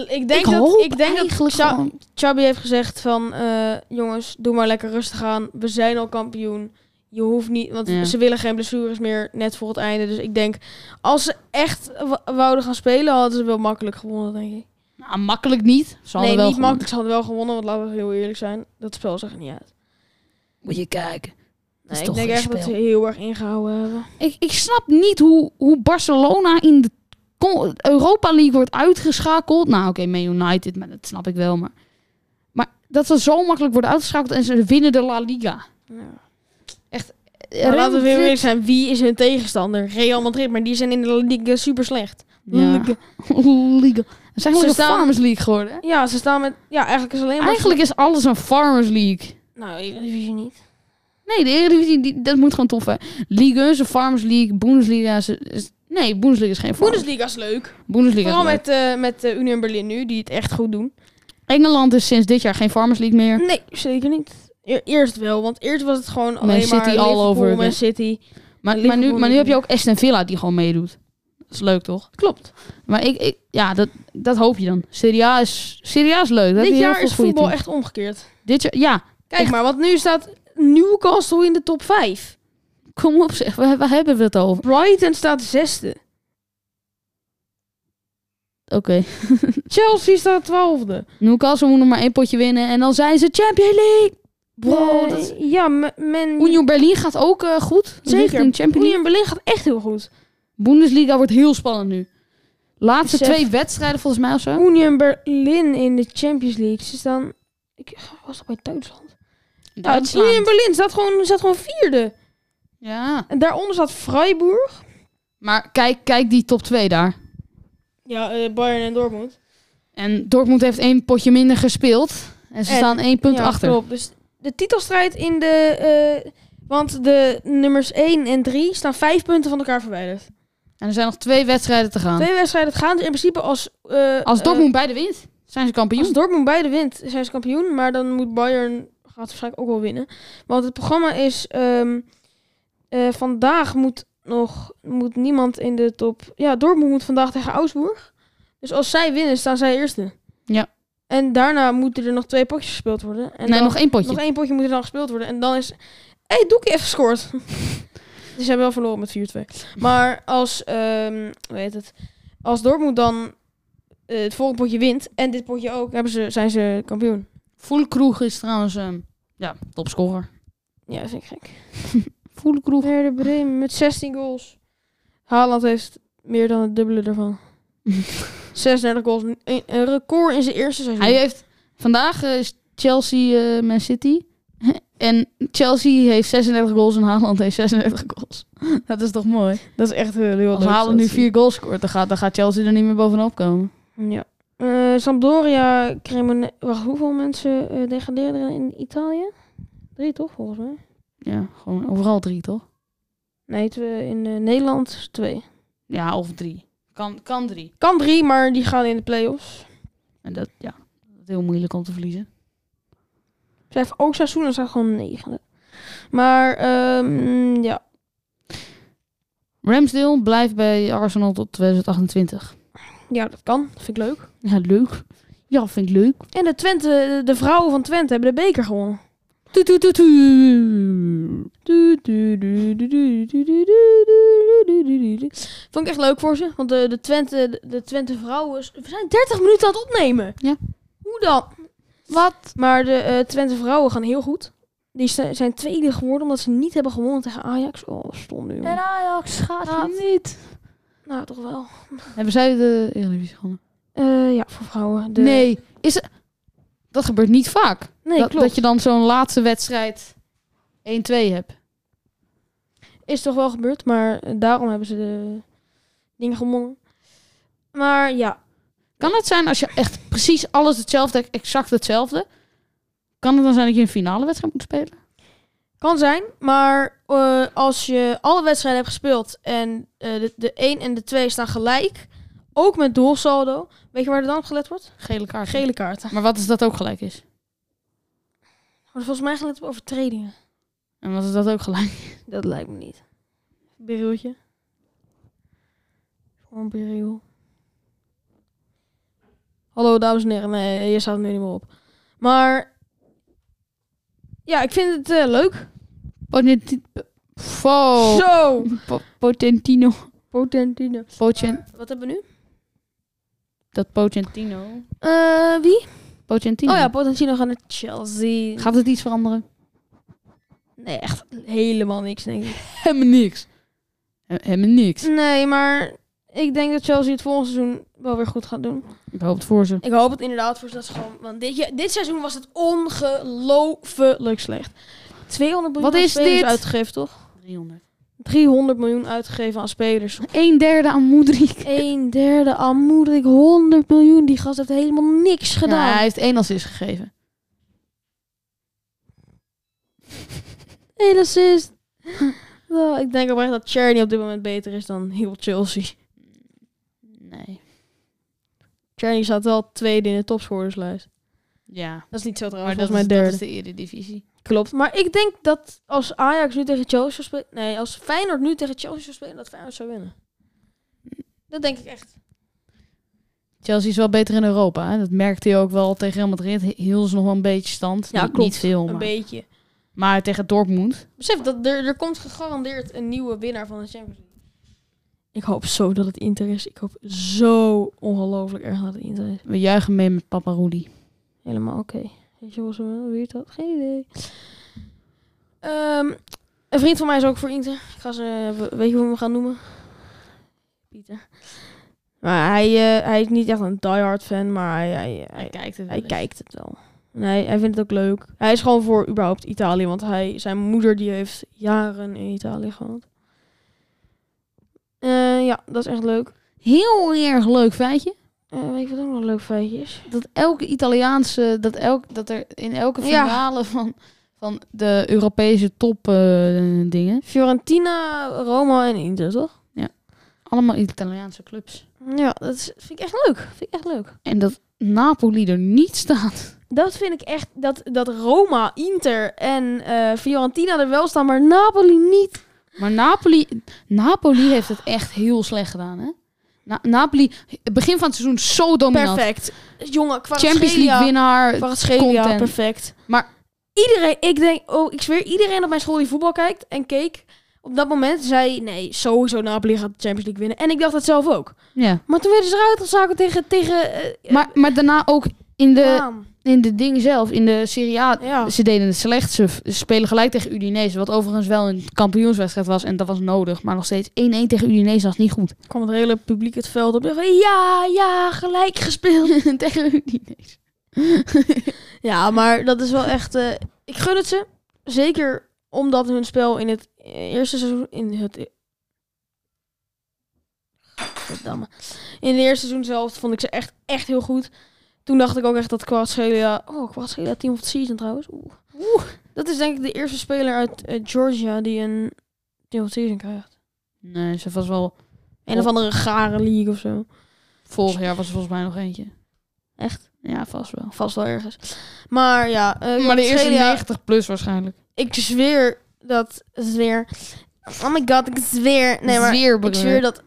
Speaker 2: ik denk
Speaker 1: Ik
Speaker 2: dat,
Speaker 1: hoop
Speaker 2: ik denk dat
Speaker 1: eigenlijk
Speaker 2: Cha-
Speaker 1: gewoon-
Speaker 2: Chabi heeft gezegd van... eh, jongens, doe maar lekker rustig aan. We zijn al kampioen. Je hoeft niet... Want
Speaker 1: Ja.
Speaker 2: ze willen geen blessures meer net voor het einde. Dus ik denk, als ze echt w- wouden gaan spelen... hadden ze wel makkelijk gewonnen, denk ik.
Speaker 1: Nou, makkelijk niet. Ze
Speaker 2: nee,
Speaker 1: hadden wel
Speaker 2: niet
Speaker 1: gewonnen.
Speaker 2: makkelijk. Ze hadden wel gewonnen, want laten we heel eerlijk zijn. Dat spel zag er niet uit.
Speaker 1: Moet je kijken. is
Speaker 2: Nee, ik
Speaker 1: toch
Speaker 2: denk
Speaker 1: geen
Speaker 2: echt dat ze
Speaker 1: spel.
Speaker 2: heel erg ingehouden hebben.
Speaker 1: Ik, ik snap niet hoe, hoe Barcelona in de con- Europa League wordt uitgeschakeld. Nou, oké, Man United, maar dat snap ik wel. Maar, maar dat ze zo makkelijk worden uitgeschakeld en ze winnen de La Liga.
Speaker 2: Ja.
Speaker 1: Eh,
Speaker 2: Maar laten we heel
Speaker 1: Real
Speaker 2: eerlijk zijn, wie is hun tegenstander? Real Madrid, maar die zijn in de La Liga super slecht.
Speaker 1: Madrid- (laughs) Ja. Liga. Het is
Speaker 2: Ze
Speaker 1: eigenlijk een
Speaker 2: staan-
Speaker 1: Farmers League geworden. hè?
Speaker 2: Ja, ze staan met... Ja, eigenlijk is alleen maar...
Speaker 1: Eigenlijk is alles een Farmers League.
Speaker 2: Nou, Eredivisie niet.
Speaker 1: Nee, de Eredivisie, die, dat moet gewoon tof zijn. Ligue 1 is een Farmers League, Bundesliga is... is- nee, Bundesliga is geen Farmers
Speaker 2: Bundesliga is leuk.
Speaker 1: Bundesliga is
Speaker 2: Vooral
Speaker 1: leuk.
Speaker 2: met, eh met eh, Union Berlin nu, die het echt goed doen.
Speaker 1: Engeland is sinds dit jaar geen Farmers League meer.
Speaker 2: Nee, zeker niet. E- eerst wel, want eerst was het gewoon alleen
Speaker 1: City
Speaker 2: maar
Speaker 1: all
Speaker 2: Liverpool,
Speaker 1: over the-
Speaker 2: Man City.
Speaker 1: Maar, maar, nu,
Speaker 2: Liverpool
Speaker 1: maar nu
Speaker 2: niet
Speaker 1: heb je ook Aston Villa die gewoon meedoet. Dat is leuk, toch?
Speaker 2: Klopt.
Speaker 1: Maar ik, ik ja, dat, dat hoop je dan. Serie A is, Serie A is leuk. Daar heb je
Speaker 2: Dit
Speaker 1: heel
Speaker 2: jaar
Speaker 1: veel
Speaker 2: is
Speaker 1: goede
Speaker 2: voetbal
Speaker 1: teams.
Speaker 2: echt omgekeerd.
Speaker 1: Dit jaar, ja.
Speaker 2: Kijk
Speaker 1: Echt.
Speaker 2: maar, want nu staat Newcastle in de top 5.
Speaker 1: Kom op zeg, waar, waar hebben we het over?
Speaker 2: Brighton staat zesde.
Speaker 1: Oké.
Speaker 2: Chelsea staat twaalfde.
Speaker 1: Newcastle moet nog maar één potje winnen en dan zijn ze Champions League.
Speaker 2: Bro,
Speaker 1: Nee.
Speaker 2: dat is- ja, men... men
Speaker 1: Union Berlin gaat ook eh, goed. Zeker. in Champions League.
Speaker 2: Union Berlin gaat echt heel goed.
Speaker 1: Bundesliga wordt heel spannend nu. Laatste
Speaker 2: Besef.
Speaker 1: twee wedstrijden volgens mij of zo.
Speaker 2: Union Berlin in de Champions League. Ze staan... Ik was toch bij Duitsland? Ja,
Speaker 1: Duitsland.
Speaker 2: Union Berlin staat gewoon, staat gewoon vierde.
Speaker 1: Ja.
Speaker 2: En daaronder staat Freiburg.
Speaker 1: Maar kijk, kijk die top 2 daar.
Speaker 2: Ja, eh, Bayern en Dortmund.
Speaker 1: En Dortmund heeft één potje minder gespeeld. En ze
Speaker 2: En-
Speaker 1: staan één punt
Speaker 2: ja,
Speaker 1: achter.
Speaker 2: Klopt. Dus de titelstrijd in de... eh, want de nummers 1 en 3 staan vijf punten van elkaar verwijderd.
Speaker 1: En er zijn nog twee wedstrijden te gaan.
Speaker 2: Twee wedstrijden gaan dus in principe als... eh,
Speaker 1: Als
Speaker 2: eh,
Speaker 1: Dortmund beide wint, zijn ze kampioen.
Speaker 2: Als Dortmund beide wint, zijn ze kampioen. Maar dan moet Bayern gaat waarschijnlijk ook wel winnen. Want het programma is... ehm, eh, vandaag moet nog moet niemand in de top... Ja, Dortmund moet vandaag tegen Augsburg. Dus als zij winnen, staan zij eerste.
Speaker 1: Ja.
Speaker 2: En daarna moeten er nog twee potjes gespeeld worden. En
Speaker 1: nee,
Speaker 2: dan-
Speaker 1: nog één potje.
Speaker 2: nog één potje moet er dan gespeeld worden. En dan is... Hé, hey, Doekie heeft gescoord. (laughs) dus ze hebben wel verloren met 4-2. Maar als... ehm hoe heet het? Als Dortmund dan eh, het volgende potje wint... en dit potje ook, hebben ze, zijn ze kampioen.
Speaker 1: Voelkroeg is trouwens ehm, ja, topscorer.
Speaker 2: Ja, dat vind ik gek.
Speaker 1: Voelkroeg.
Speaker 2: Werder Bremen met 16 goals. Haaland heeft meer dan het dubbele
Speaker 1: (laughs)
Speaker 2: ervan. 36 goals. Een, een record in zijn eerste seizoen.
Speaker 1: Hij heeft vandaag eh, is Chelsea eh, Man City. en Chelsea heeft 36 goals en Haaland heeft 36 goals. Dat is toch mooi?
Speaker 2: dat is echt eh, heel leuk.
Speaker 1: Als
Speaker 2: dat
Speaker 1: Haaland nu
Speaker 2: te zien.
Speaker 1: vier goals scoort, dan gaat, dan gaat Chelsea er niet meer bovenop komen.
Speaker 2: Ja. Eh, Sampdoria, Cremone... Wacht, hoeveel mensen eh degraderen er in Italië? Drie toch, volgens mij?
Speaker 1: Ja, gewoon overal drie, toch?
Speaker 2: Nee, twee, in eh, Nederland twee.
Speaker 1: Ja, of drie. Kan, kan drie.
Speaker 2: Kan drie, maar die gaan in de play-offs.
Speaker 1: En dat, ja, dat is heel moeilijk om te verliezen.
Speaker 2: Zij heeft ook Sassuolo, staat gewoon negende. Maar, ehm, ja.
Speaker 1: Ramsdale blijft bij Arsenal tot 2028.
Speaker 2: ja, dat kan. Dat vind ik leuk.
Speaker 1: Ja, leuk. Ja, vind ik leuk.
Speaker 2: En de, Twente, de vrouwen van Twente hebben de beker gewonnen.
Speaker 1: Toet, toet, toet, toet.
Speaker 2: Vond ik echt leuk voor ze. Want de, de, Twente, de Twente vrouwen... is- We zijn 30 minuten aan het opnemen.
Speaker 1: Ja.
Speaker 2: Hoe dan? Wat? Maar de eh, Twente vrouwen gaan heel goed. Die sta- zijn tweede geworden omdat ze niet hebben gewonnen tegen Ajax. Oh, stom nu. jongen.
Speaker 3: Ajax
Speaker 1: Gaat niet.
Speaker 2: Nou, toch wel.
Speaker 1: Hebben zij de Eredivisie gewonnen?
Speaker 2: Eh, ja, voor vrouwen. De...
Speaker 1: Nee. Is er- Dat gebeurt niet vaak.
Speaker 2: nee
Speaker 1: dat,
Speaker 2: klopt.
Speaker 1: dat je dan zo'n laatste wedstrijd 1-2 hebt.
Speaker 2: Is toch wel gebeurd, maar eh, daarom hebben ze de dingen gewonnen. Maar ja,
Speaker 1: Kan het zijn als je echt precies alles hetzelfde, exact hetzelfde... Kan het dan zijn dat je een finale wedstrijd moet spelen?
Speaker 2: kan zijn. Maar eh, als je alle wedstrijden hebt gespeeld en eh, de, de 1 en de 2 staan gelijk, ook met doelsaldo, weet je waar er dan op gelet wordt?
Speaker 1: Gele kaart.
Speaker 2: Gele kaarten.
Speaker 1: Maar wat is dat ook gelijk is?
Speaker 2: Wordt volgens mij gelet op overtredingen.
Speaker 1: En wat is dat ook gelijk?
Speaker 2: Dat lijkt me niet. Berieltje. Voor een beriel. Hallo dames en heren. Nee, je staat er nu niet meer op. Maar ja, ik vind het eh, leuk.
Speaker 1: Potenti- Wow.
Speaker 2: Zo!
Speaker 1: Po- Potentino.
Speaker 2: Potentino.
Speaker 1: Potent-
Speaker 2: Wat hebben we nu?
Speaker 1: dat Potentino.
Speaker 2: Eh, wie?
Speaker 1: Potentino.
Speaker 2: Oh ja, Potentino gaat naar Chelsea.
Speaker 1: Gaat het iets veranderen?
Speaker 2: Nee, echt helemaal niks, denk ik.
Speaker 1: Helemaal niks. He- Helemaal niks.
Speaker 2: (laughs) Nee, maar ik denk dat Chelsea het volgende seizoen wel weer goed gaat doen.
Speaker 1: Ik hoop het voor ze.
Speaker 2: Ik hoop het inderdaad voor ze dat ze gewoon... Want dit, ja, dit seizoen was het ongelooflijk slecht. 200 miljoen
Speaker 1: Wat
Speaker 2: aan
Speaker 1: is
Speaker 2: spelers
Speaker 1: dit?
Speaker 2: uitgegeven, toch?
Speaker 1: 300.
Speaker 2: 300 miljoen uitgegeven aan spelers.
Speaker 1: Een derde aan Moedrik.
Speaker 2: Een derde aan Moedrik, 100 miljoen. Die gast heeft helemaal niks gedaan.
Speaker 1: hij heeft één assist gegeven.
Speaker 2: Hele assist. (laughs) Wel, ik denk oprecht dat Cherry op dit moment beter is dan heel Chelsea.
Speaker 1: Nee.
Speaker 2: Cherry staat wel tweede in de topscorerslijst.
Speaker 1: Ja.
Speaker 2: Dat is niet zo
Speaker 1: Maar
Speaker 2: trouwens,
Speaker 1: dat,
Speaker 2: volgens
Speaker 1: is,
Speaker 2: mij
Speaker 1: dat
Speaker 2: derde.
Speaker 1: is de Eredivisie.
Speaker 2: Klopt. Maar ik denk dat als Ajax nu tegen Chelsea zou spelen... Nee, als Feyenoord nu tegen Chelsea zou spelen, dat Feyenoord zou winnen. Dat denk ik echt.
Speaker 1: Chelsea is wel beter in Europa. Hè? Dat merkte hij ook wel tegen Real Madrid. Heel is nog wel een beetje stand.
Speaker 2: Ja,
Speaker 1: Niet-
Speaker 2: klopt.
Speaker 1: Niet veel,
Speaker 2: Een
Speaker 1: maar,
Speaker 2: beetje.
Speaker 1: maar tegen Dortmund.
Speaker 2: Besef, dat er, er komt gegarandeerd een nieuwe winnaar van de Champions League. Ik hoop zo dat het Inter is. Ik hoop zo ongelooflijk erg dat het Inter is.
Speaker 1: We juichen mee met Papa Rudy.
Speaker 2: Helemaal oké. Weet je wel zo wie is dat? Geen idee. Ehm, een vriend van mij is ook voor Inter. Ik ga ze, we- weet je hoe we hem gaan noemen? Pieter. Maar hij, eh, hij is niet echt een diehard fan, maar hij, hij, hij,
Speaker 1: kijkt het
Speaker 2: hij kijkt het wel. En hij, hij vindt het ook leuk. Hij is gewoon voor überhaupt Italië, want hij, zijn moeder die heeft jaren in Italië gewoond. Eh, ja, dat is echt leuk.
Speaker 1: Heel erg leuk feitje.
Speaker 2: Eh, weet je wat ook nog een leuk feitje is?
Speaker 1: dat elke Italiaanse, dat, elk, dat er in elke
Speaker 2: Ja.
Speaker 1: finale van, van de Europese top eh, dingen,
Speaker 2: Fiorentina, Roma en Inter, toch?
Speaker 1: allemaal Italiaanse clubs.
Speaker 2: Ja, dat is- vind ik echt leuk. Vind ik echt leuk.
Speaker 1: En dat Napoli er niet staat.
Speaker 2: Dat vind ik echt, dat, dat Roma, Inter en eh, Fiorentina er wel staan, maar Napoli niet.
Speaker 1: Maar Napoli, Napoli heeft het echt heel slecht gedaan, hè? Na- Napoli, het begin van het seizoen zo dominant.
Speaker 2: Perfect. Jongen,
Speaker 1: Champions League
Speaker 2: winnen.
Speaker 1: winnaar.
Speaker 2: Paraschelia,
Speaker 1: content.
Speaker 2: perfect.
Speaker 1: Maar-
Speaker 2: iedereen, ik denk, oh, ik zweer, iedereen op mijn school die voetbal kijkt en keek, op dat moment zei, nee, sowieso Napoli gaat de Champions League winnen. En ik dacht dat zelf ook.
Speaker 1: Ja.
Speaker 2: Maar toen werden ze eruit gezaken tegen, tegen eh,
Speaker 1: Maar, maar daarna ook in de,
Speaker 2: Milaan.
Speaker 1: in de ding zelf, in de Serie A,
Speaker 2: Ja.
Speaker 1: Ze deden het slecht. Ze v- ze spelen gelijk tegen Udinese. Wat overigens wel een kampioenswedstrijd was. En dat was nodig. Maar nog steeds 1-1 tegen Udinese was niet goed.
Speaker 2: (laughs)
Speaker 1: (laughs)
Speaker 2: kwam het hele publiek het veld op. Dacht van, ja, ja, gelijk gespeeld.
Speaker 1: tegen Udinese.
Speaker 2: Ja, maar dat is wel echt... eh, ik gun het ze. Zeker omdat hun spel in het eh, eerste seizoen... In het... e- Verdamme. In het eerste seizoen zelf vond ik ze echt, echt heel goed. Toen dacht ik ook echt dat Quadschelia... Oh, Quadschelia Team of the Season trouwens. Oeh. Dat is denk ik de eerste speler uit eh, Georgia die een Team of the Season krijgt.
Speaker 1: Nee, ze was wel...
Speaker 2: Een of andere gare league of zo.
Speaker 1: Vorig jaar was er volgens mij nog eentje.
Speaker 2: Echt?
Speaker 1: Ja, vast wel.
Speaker 2: Vast wel ergens. Maar ja... eh,
Speaker 1: Maar de eerste
Speaker 2: Kvaratskhelia-
Speaker 1: 90 plus waarschijnlijk.
Speaker 2: Ik zweer dat... Zweer. Oh my god, ik zweer. Nee, maar
Speaker 1: Zweer,
Speaker 2: ik zweer dat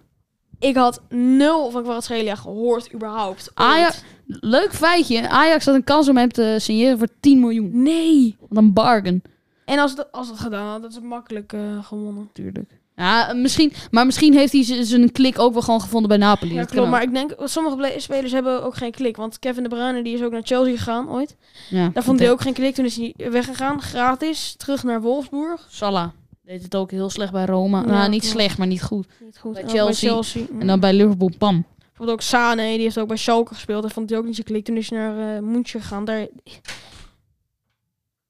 Speaker 2: Ik had nul van Kvaratschelia gehoord überhaupt. ooit.
Speaker 1: Ajax- Leuk feitje. Ajax had een kans om hem te signeren voor 10 miljoen.
Speaker 2: Nee.
Speaker 1: Wat een bargain,
Speaker 2: En als dat, als dat gedaan had, dat is makkelijk eh, gewonnen.
Speaker 1: natuurlijk. Ja, misschien, maar misschien heeft hij z- zijn klik ook wel gewoon gevonden bij Napoli.
Speaker 2: Ja,
Speaker 1: Dat kan
Speaker 2: klopt.
Speaker 1: ook.
Speaker 2: Maar ik denk, sommige ble- spelers hebben ook geen klik. Want Kevin De Bruyne die is ook naar Chelsea gegaan ooit.
Speaker 1: ja,
Speaker 2: Daar vond hij ook geen klik. Toen is hij weggegaan, gratis, terug naar Wolfsburg.
Speaker 1: Salah deed het ook heel slecht bij Roma.
Speaker 2: Ja,
Speaker 1: nou, niet
Speaker 2: klopt.
Speaker 1: slecht, maar niet goed.
Speaker 2: Niet goed.
Speaker 1: Bij
Speaker 2: En ook
Speaker 1: Chelsea.
Speaker 2: Mm.
Speaker 1: En dan bij Liverpool, pam.
Speaker 2: Bijvoorbeeld ook Sane, die heeft ook bij Schalke gespeeld. Daar vond hij ook niet zo klik. Toen is hij naar eh München gegaan. Daar...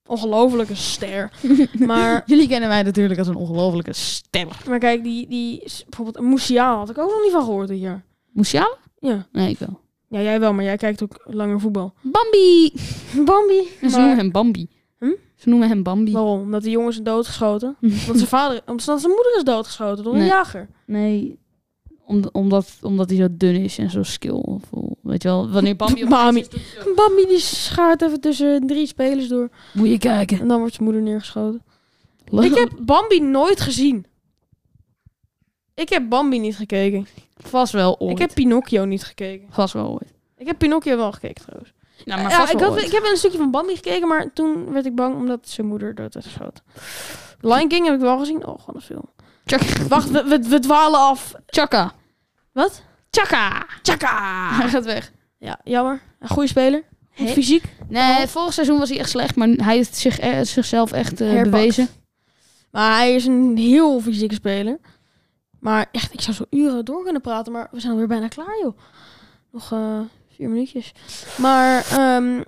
Speaker 2: Ongelofelijke ster. maar,
Speaker 1: Jullie kennen mij natuurlijk als een ongelofelijke ster.
Speaker 2: maar kijk, die, die is- bijvoorbeeld Moesiala had ik ook nog niet van gehoord dit jaar.
Speaker 1: Musiala?
Speaker 2: Ja.
Speaker 1: Nee, ik wel.
Speaker 2: ja, jij wel, maar jij kijkt ook langer voetbal.
Speaker 1: (laughs) Bambi!
Speaker 2: Bambi.
Speaker 1: En ze
Speaker 2: Maar-
Speaker 1: noemen hem Bambi.
Speaker 2: Hm?
Speaker 1: Ze noemen hem Bambi.
Speaker 2: Waarom? Omdat die jongen is doodgeschoten. Omdat zijn vader, omdat zijn moeder is doodgeschoten door een
Speaker 1: Nee.
Speaker 2: jager.
Speaker 1: Nee, om- omdat, omdat hij zo dun is en zo skillvol. Weet je wel, wanneer Bambi op
Speaker 2: Bami.
Speaker 1: is, doet hij zo.
Speaker 2: Bambi die schaart even tussen drie spelers door.
Speaker 1: Moet je kijken.
Speaker 2: En dan wordt zijn moeder neergeschoten. Ik heb Bambi nooit gezien. Ik heb Bambi niet gekeken.
Speaker 1: vast wel ooit.
Speaker 2: Ik heb Pinocchio niet gekeken.
Speaker 1: vast wel ooit.
Speaker 2: Ik heb Pinocchio wel gekeken trouwens.
Speaker 1: Nou, maar
Speaker 2: Ja,
Speaker 1: vast
Speaker 2: ik,
Speaker 1: wel
Speaker 2: had, ik
Speaker 1: ooit.
Speaker 2: heb een stukje van Bambi gekeken, maar toen werd ik bang omdat zijn moeder dood werd geschoten. Lion King heb ik wel gezien. Oh, gewoon een film.
Speaker 1: Chaka.
Speaker 2: Wacht, we, we, we dwalen af.
Speaker 1: Chaka.
Speaker 2: Wat?
Speaker 1: Chaka.
Speaker 2: Chaka!
Speaker 1: (laughs) Hij gaat weg.
Speaker 2: Ja, jammer. Een goede speler. Goed
Speaker 1: Hè?
Speaker 2: fysiek.
Speaker 1: Nee, vorig seizoen was hij echt slecht, maar hij heeft zich, eh, zichzelf echt eh,
Speaker 2: Herpakt.
Speaker 1: bewezen.
Speaker 2: Maar hij is een heel fysieke speler. Maar echt, ik zou zo uren door kunnen praten, maar we zijn alweer bijna klaar, joh. Nog eh, vier minuutjes. Maar ehm,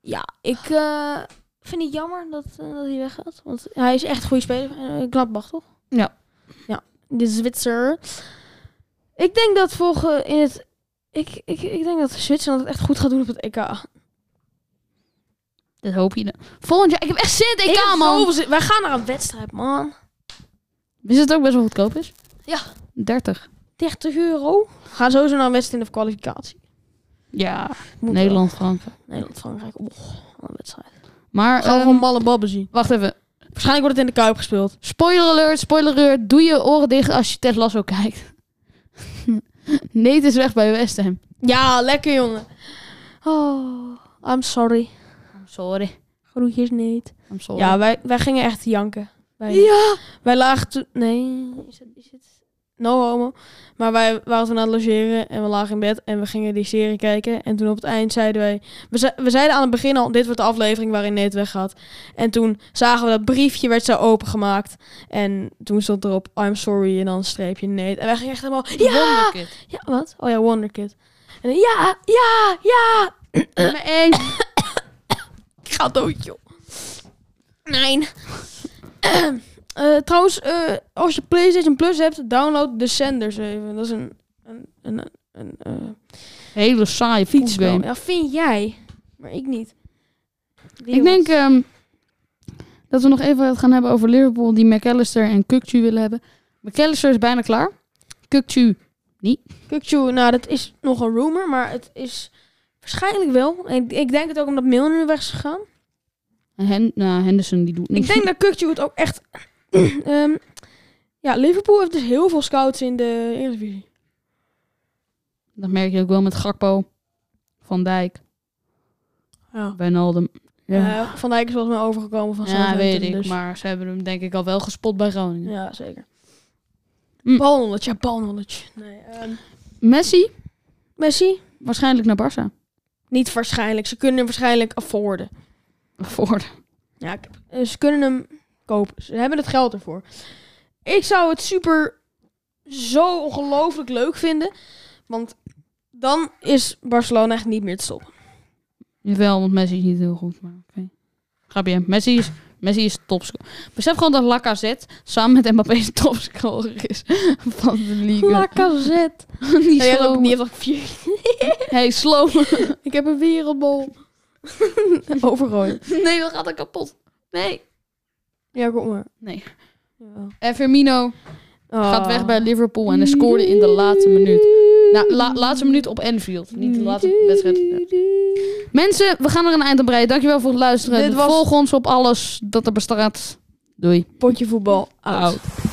Speaker 2: ja, ik eh, vind het jammer dat, eh, dat hij weggaat. Want hij is echt een goede speler. Uh, Gladbach, toch?
Speaker 1: Ja.
Speaker 2: Ja, de Zwitser. Ik denk dat volgen in het... Ik, ik, ik denk dat Zwitserland het echt goed gaat doen op het EK.
Speaker 1: Dat hoop je. dan. Volgend jaar. Ik heb echt zin in het EK,
Speaker 2: heb
Speaker 1: man.
Speaker 2: zoveel zin- Wij gaan naar een wedstrijd, man.
Speaker 1: Is het ook best wel goedkoop is?
Speaker 2: Ja.
Speaker 1: 30.
Speaker 2: 30 euro. We gaan sowieso naar een wedstrijd in de kwalificatie.
Speaker 1: Ja.
Speaker 2: Moet wel.
Speaker 1: Nederland, Frankrijk.
Speaker 2: Nederland, Frankrijk. Och, wat een wedstrijd.
Speaker 1: Maar,
Speaker 2: Gaan we
Speaker 1: ehm,
Speaker 2: gewoon ballen babben zien.
Speaker 1: wacht even.
Speaker 2: Waarschijnlijk wordt het in de Kuip gespeeld.
Speaker 1: Spoiler alert, spoiler alert. Doe je oren dicht als je Ted Lasso kijkt. (laughs) Neet is weg bij West Ham.
Speaker 2: Ja, lekker jongen. Oh, I'm sorry.
Speaker 1: I'm sorry.
Speaker 2: Groetjes niet.
Speaker 1: I'm sorry.
Speaker 2: Ja, wij, wij gingen echt janken. Wij,
Speaker 1: Ja.
Speaker 2: wij lagen toen... Nee, is het, is het... No homo. Maar wij waren toen aan het logeren en we lagen in bed en we gingen die serie kijken. En toen op het eind zeiden wij... We, ze- we zeiden aan het begin al, dit wordt de aflevering waarin Nate weggaat. En toen zagen we dat briefje werd zo opengemaakt. En toen stond erop, I'm sorry, en dan een streepje Nate. En wij gingen echt helemaal... Ja! Ja, wat? Oh ja, Wonderkid. En dan, ja, ja, ja.
Speaker 1: Nummer één.
Speaker 2: Ik ga dood, joh. Nee. Eh, trouwens, eh, als je PlayStation Plus hebt, download Descenders even. Dat is een... een, een, een, een, eh,
Speaker 1: Hele saaie
Speaker 2: voetbal.
Speaker 1: fietsgame.
Speaker 2: Ja, vind jij. Maar ik niet. Wereld.
Speaker 1: Ik denk ehm, dat we nog even het gaan hebben over Liverpool, die McAllister en Kukcu willen hebben. McAllister is bijna klaar. Kukcu, eh,
Speaker 2: Kukçu, nou, dat is nog een rumor, maar het is waarschijnlijk wel. Ik, ik denk het ook omdat Milner nu weg is gegaan.
Speaker 1: en Hen- nou, Henderson, die doet
Speaker 2: Ik
Speaker 1: niks.
Speaker 2: denk dat Kukçu het ook echt... (clears throat) Ehm, ja, Liverpool heeft dus heel veel scouts in de Eredivisie.
Speaker 1: Dat merk je ook wel met Gakpo, Van Dijk,
Speaker 2: Ja.
Speaker 1: Wijnaldum. Ja,
Speaker 2: Eh, van Dijk is volgens mij overgekomen van
Speaker 1: ja
Speaker 2: Southampton,
Speaker 1: weet ik.
Speaker 2: dus-
Speaker 1: Maar ze hebben hem denk ik al wel gespot bij Groningen.
Speaker 2: Ja, zeker.
Speaker 1: Hm.
Speaker 2: Balknowledge, ja, balknowledge. Nee, ehm,
Speaker 1: Messi,
Speaker 2: Messi?
Speaker 1: waarschijnlijk naar Barça.
Speaker 2: Niet waarschijnlijk. Ze kunnen hem waarschijnlijk afforden.
Speaker 1: Voor.
Speaker 2: Ja, ik- eh, ze kunnen hem kopen. Ze hebben het geld ervoor. Ik zou het super zo ongelooflijk leuk vinden. Want dan is Barcelona echt niet meer te stoppen.
Speaker 1: Jawel, want Messi is niet heel goed. Maar oké. Grapje, Messi is, Messi is topscorer. Besef gewoon dat Lacazette samen met Mbappé de topscorer is van de league.
Speaker 2: Lacazette.
Speaker 1: Die
Speaker 2: Die heeft ook
Speaker 1: slomen.
Speaker 2: die heeft ook vier. (laughs)
Speaker 1: Hey, slomen.
Speaker 2: Ik heb een wereldbol. (laughs) Overgooien.
Speaker 1: Nee, dat gaat er kapot. Nee.
Speaker 2: Ja, kom maar.
Speaker 1: Nee.
Speaker 2: Ja.
Speaker 1: En Eh, Firmino gaat
Speaker 2: Ah.
Speaker 1: weg bij Liverpool en hij scoorde in de laatste minuut. Nou, la- laatste minuut op Enfield. Niet de laatste wedstrijd. Ja. Mensen, we gaan er een eind aan breien. Dankjewel voor het luisteren.
Speaker 2: Dit was-
Speaker 1: Volg ons op alles dat er bestaat. Doei.
Speaker 2: Potje voetbal. Out.
Speaker 1: Out.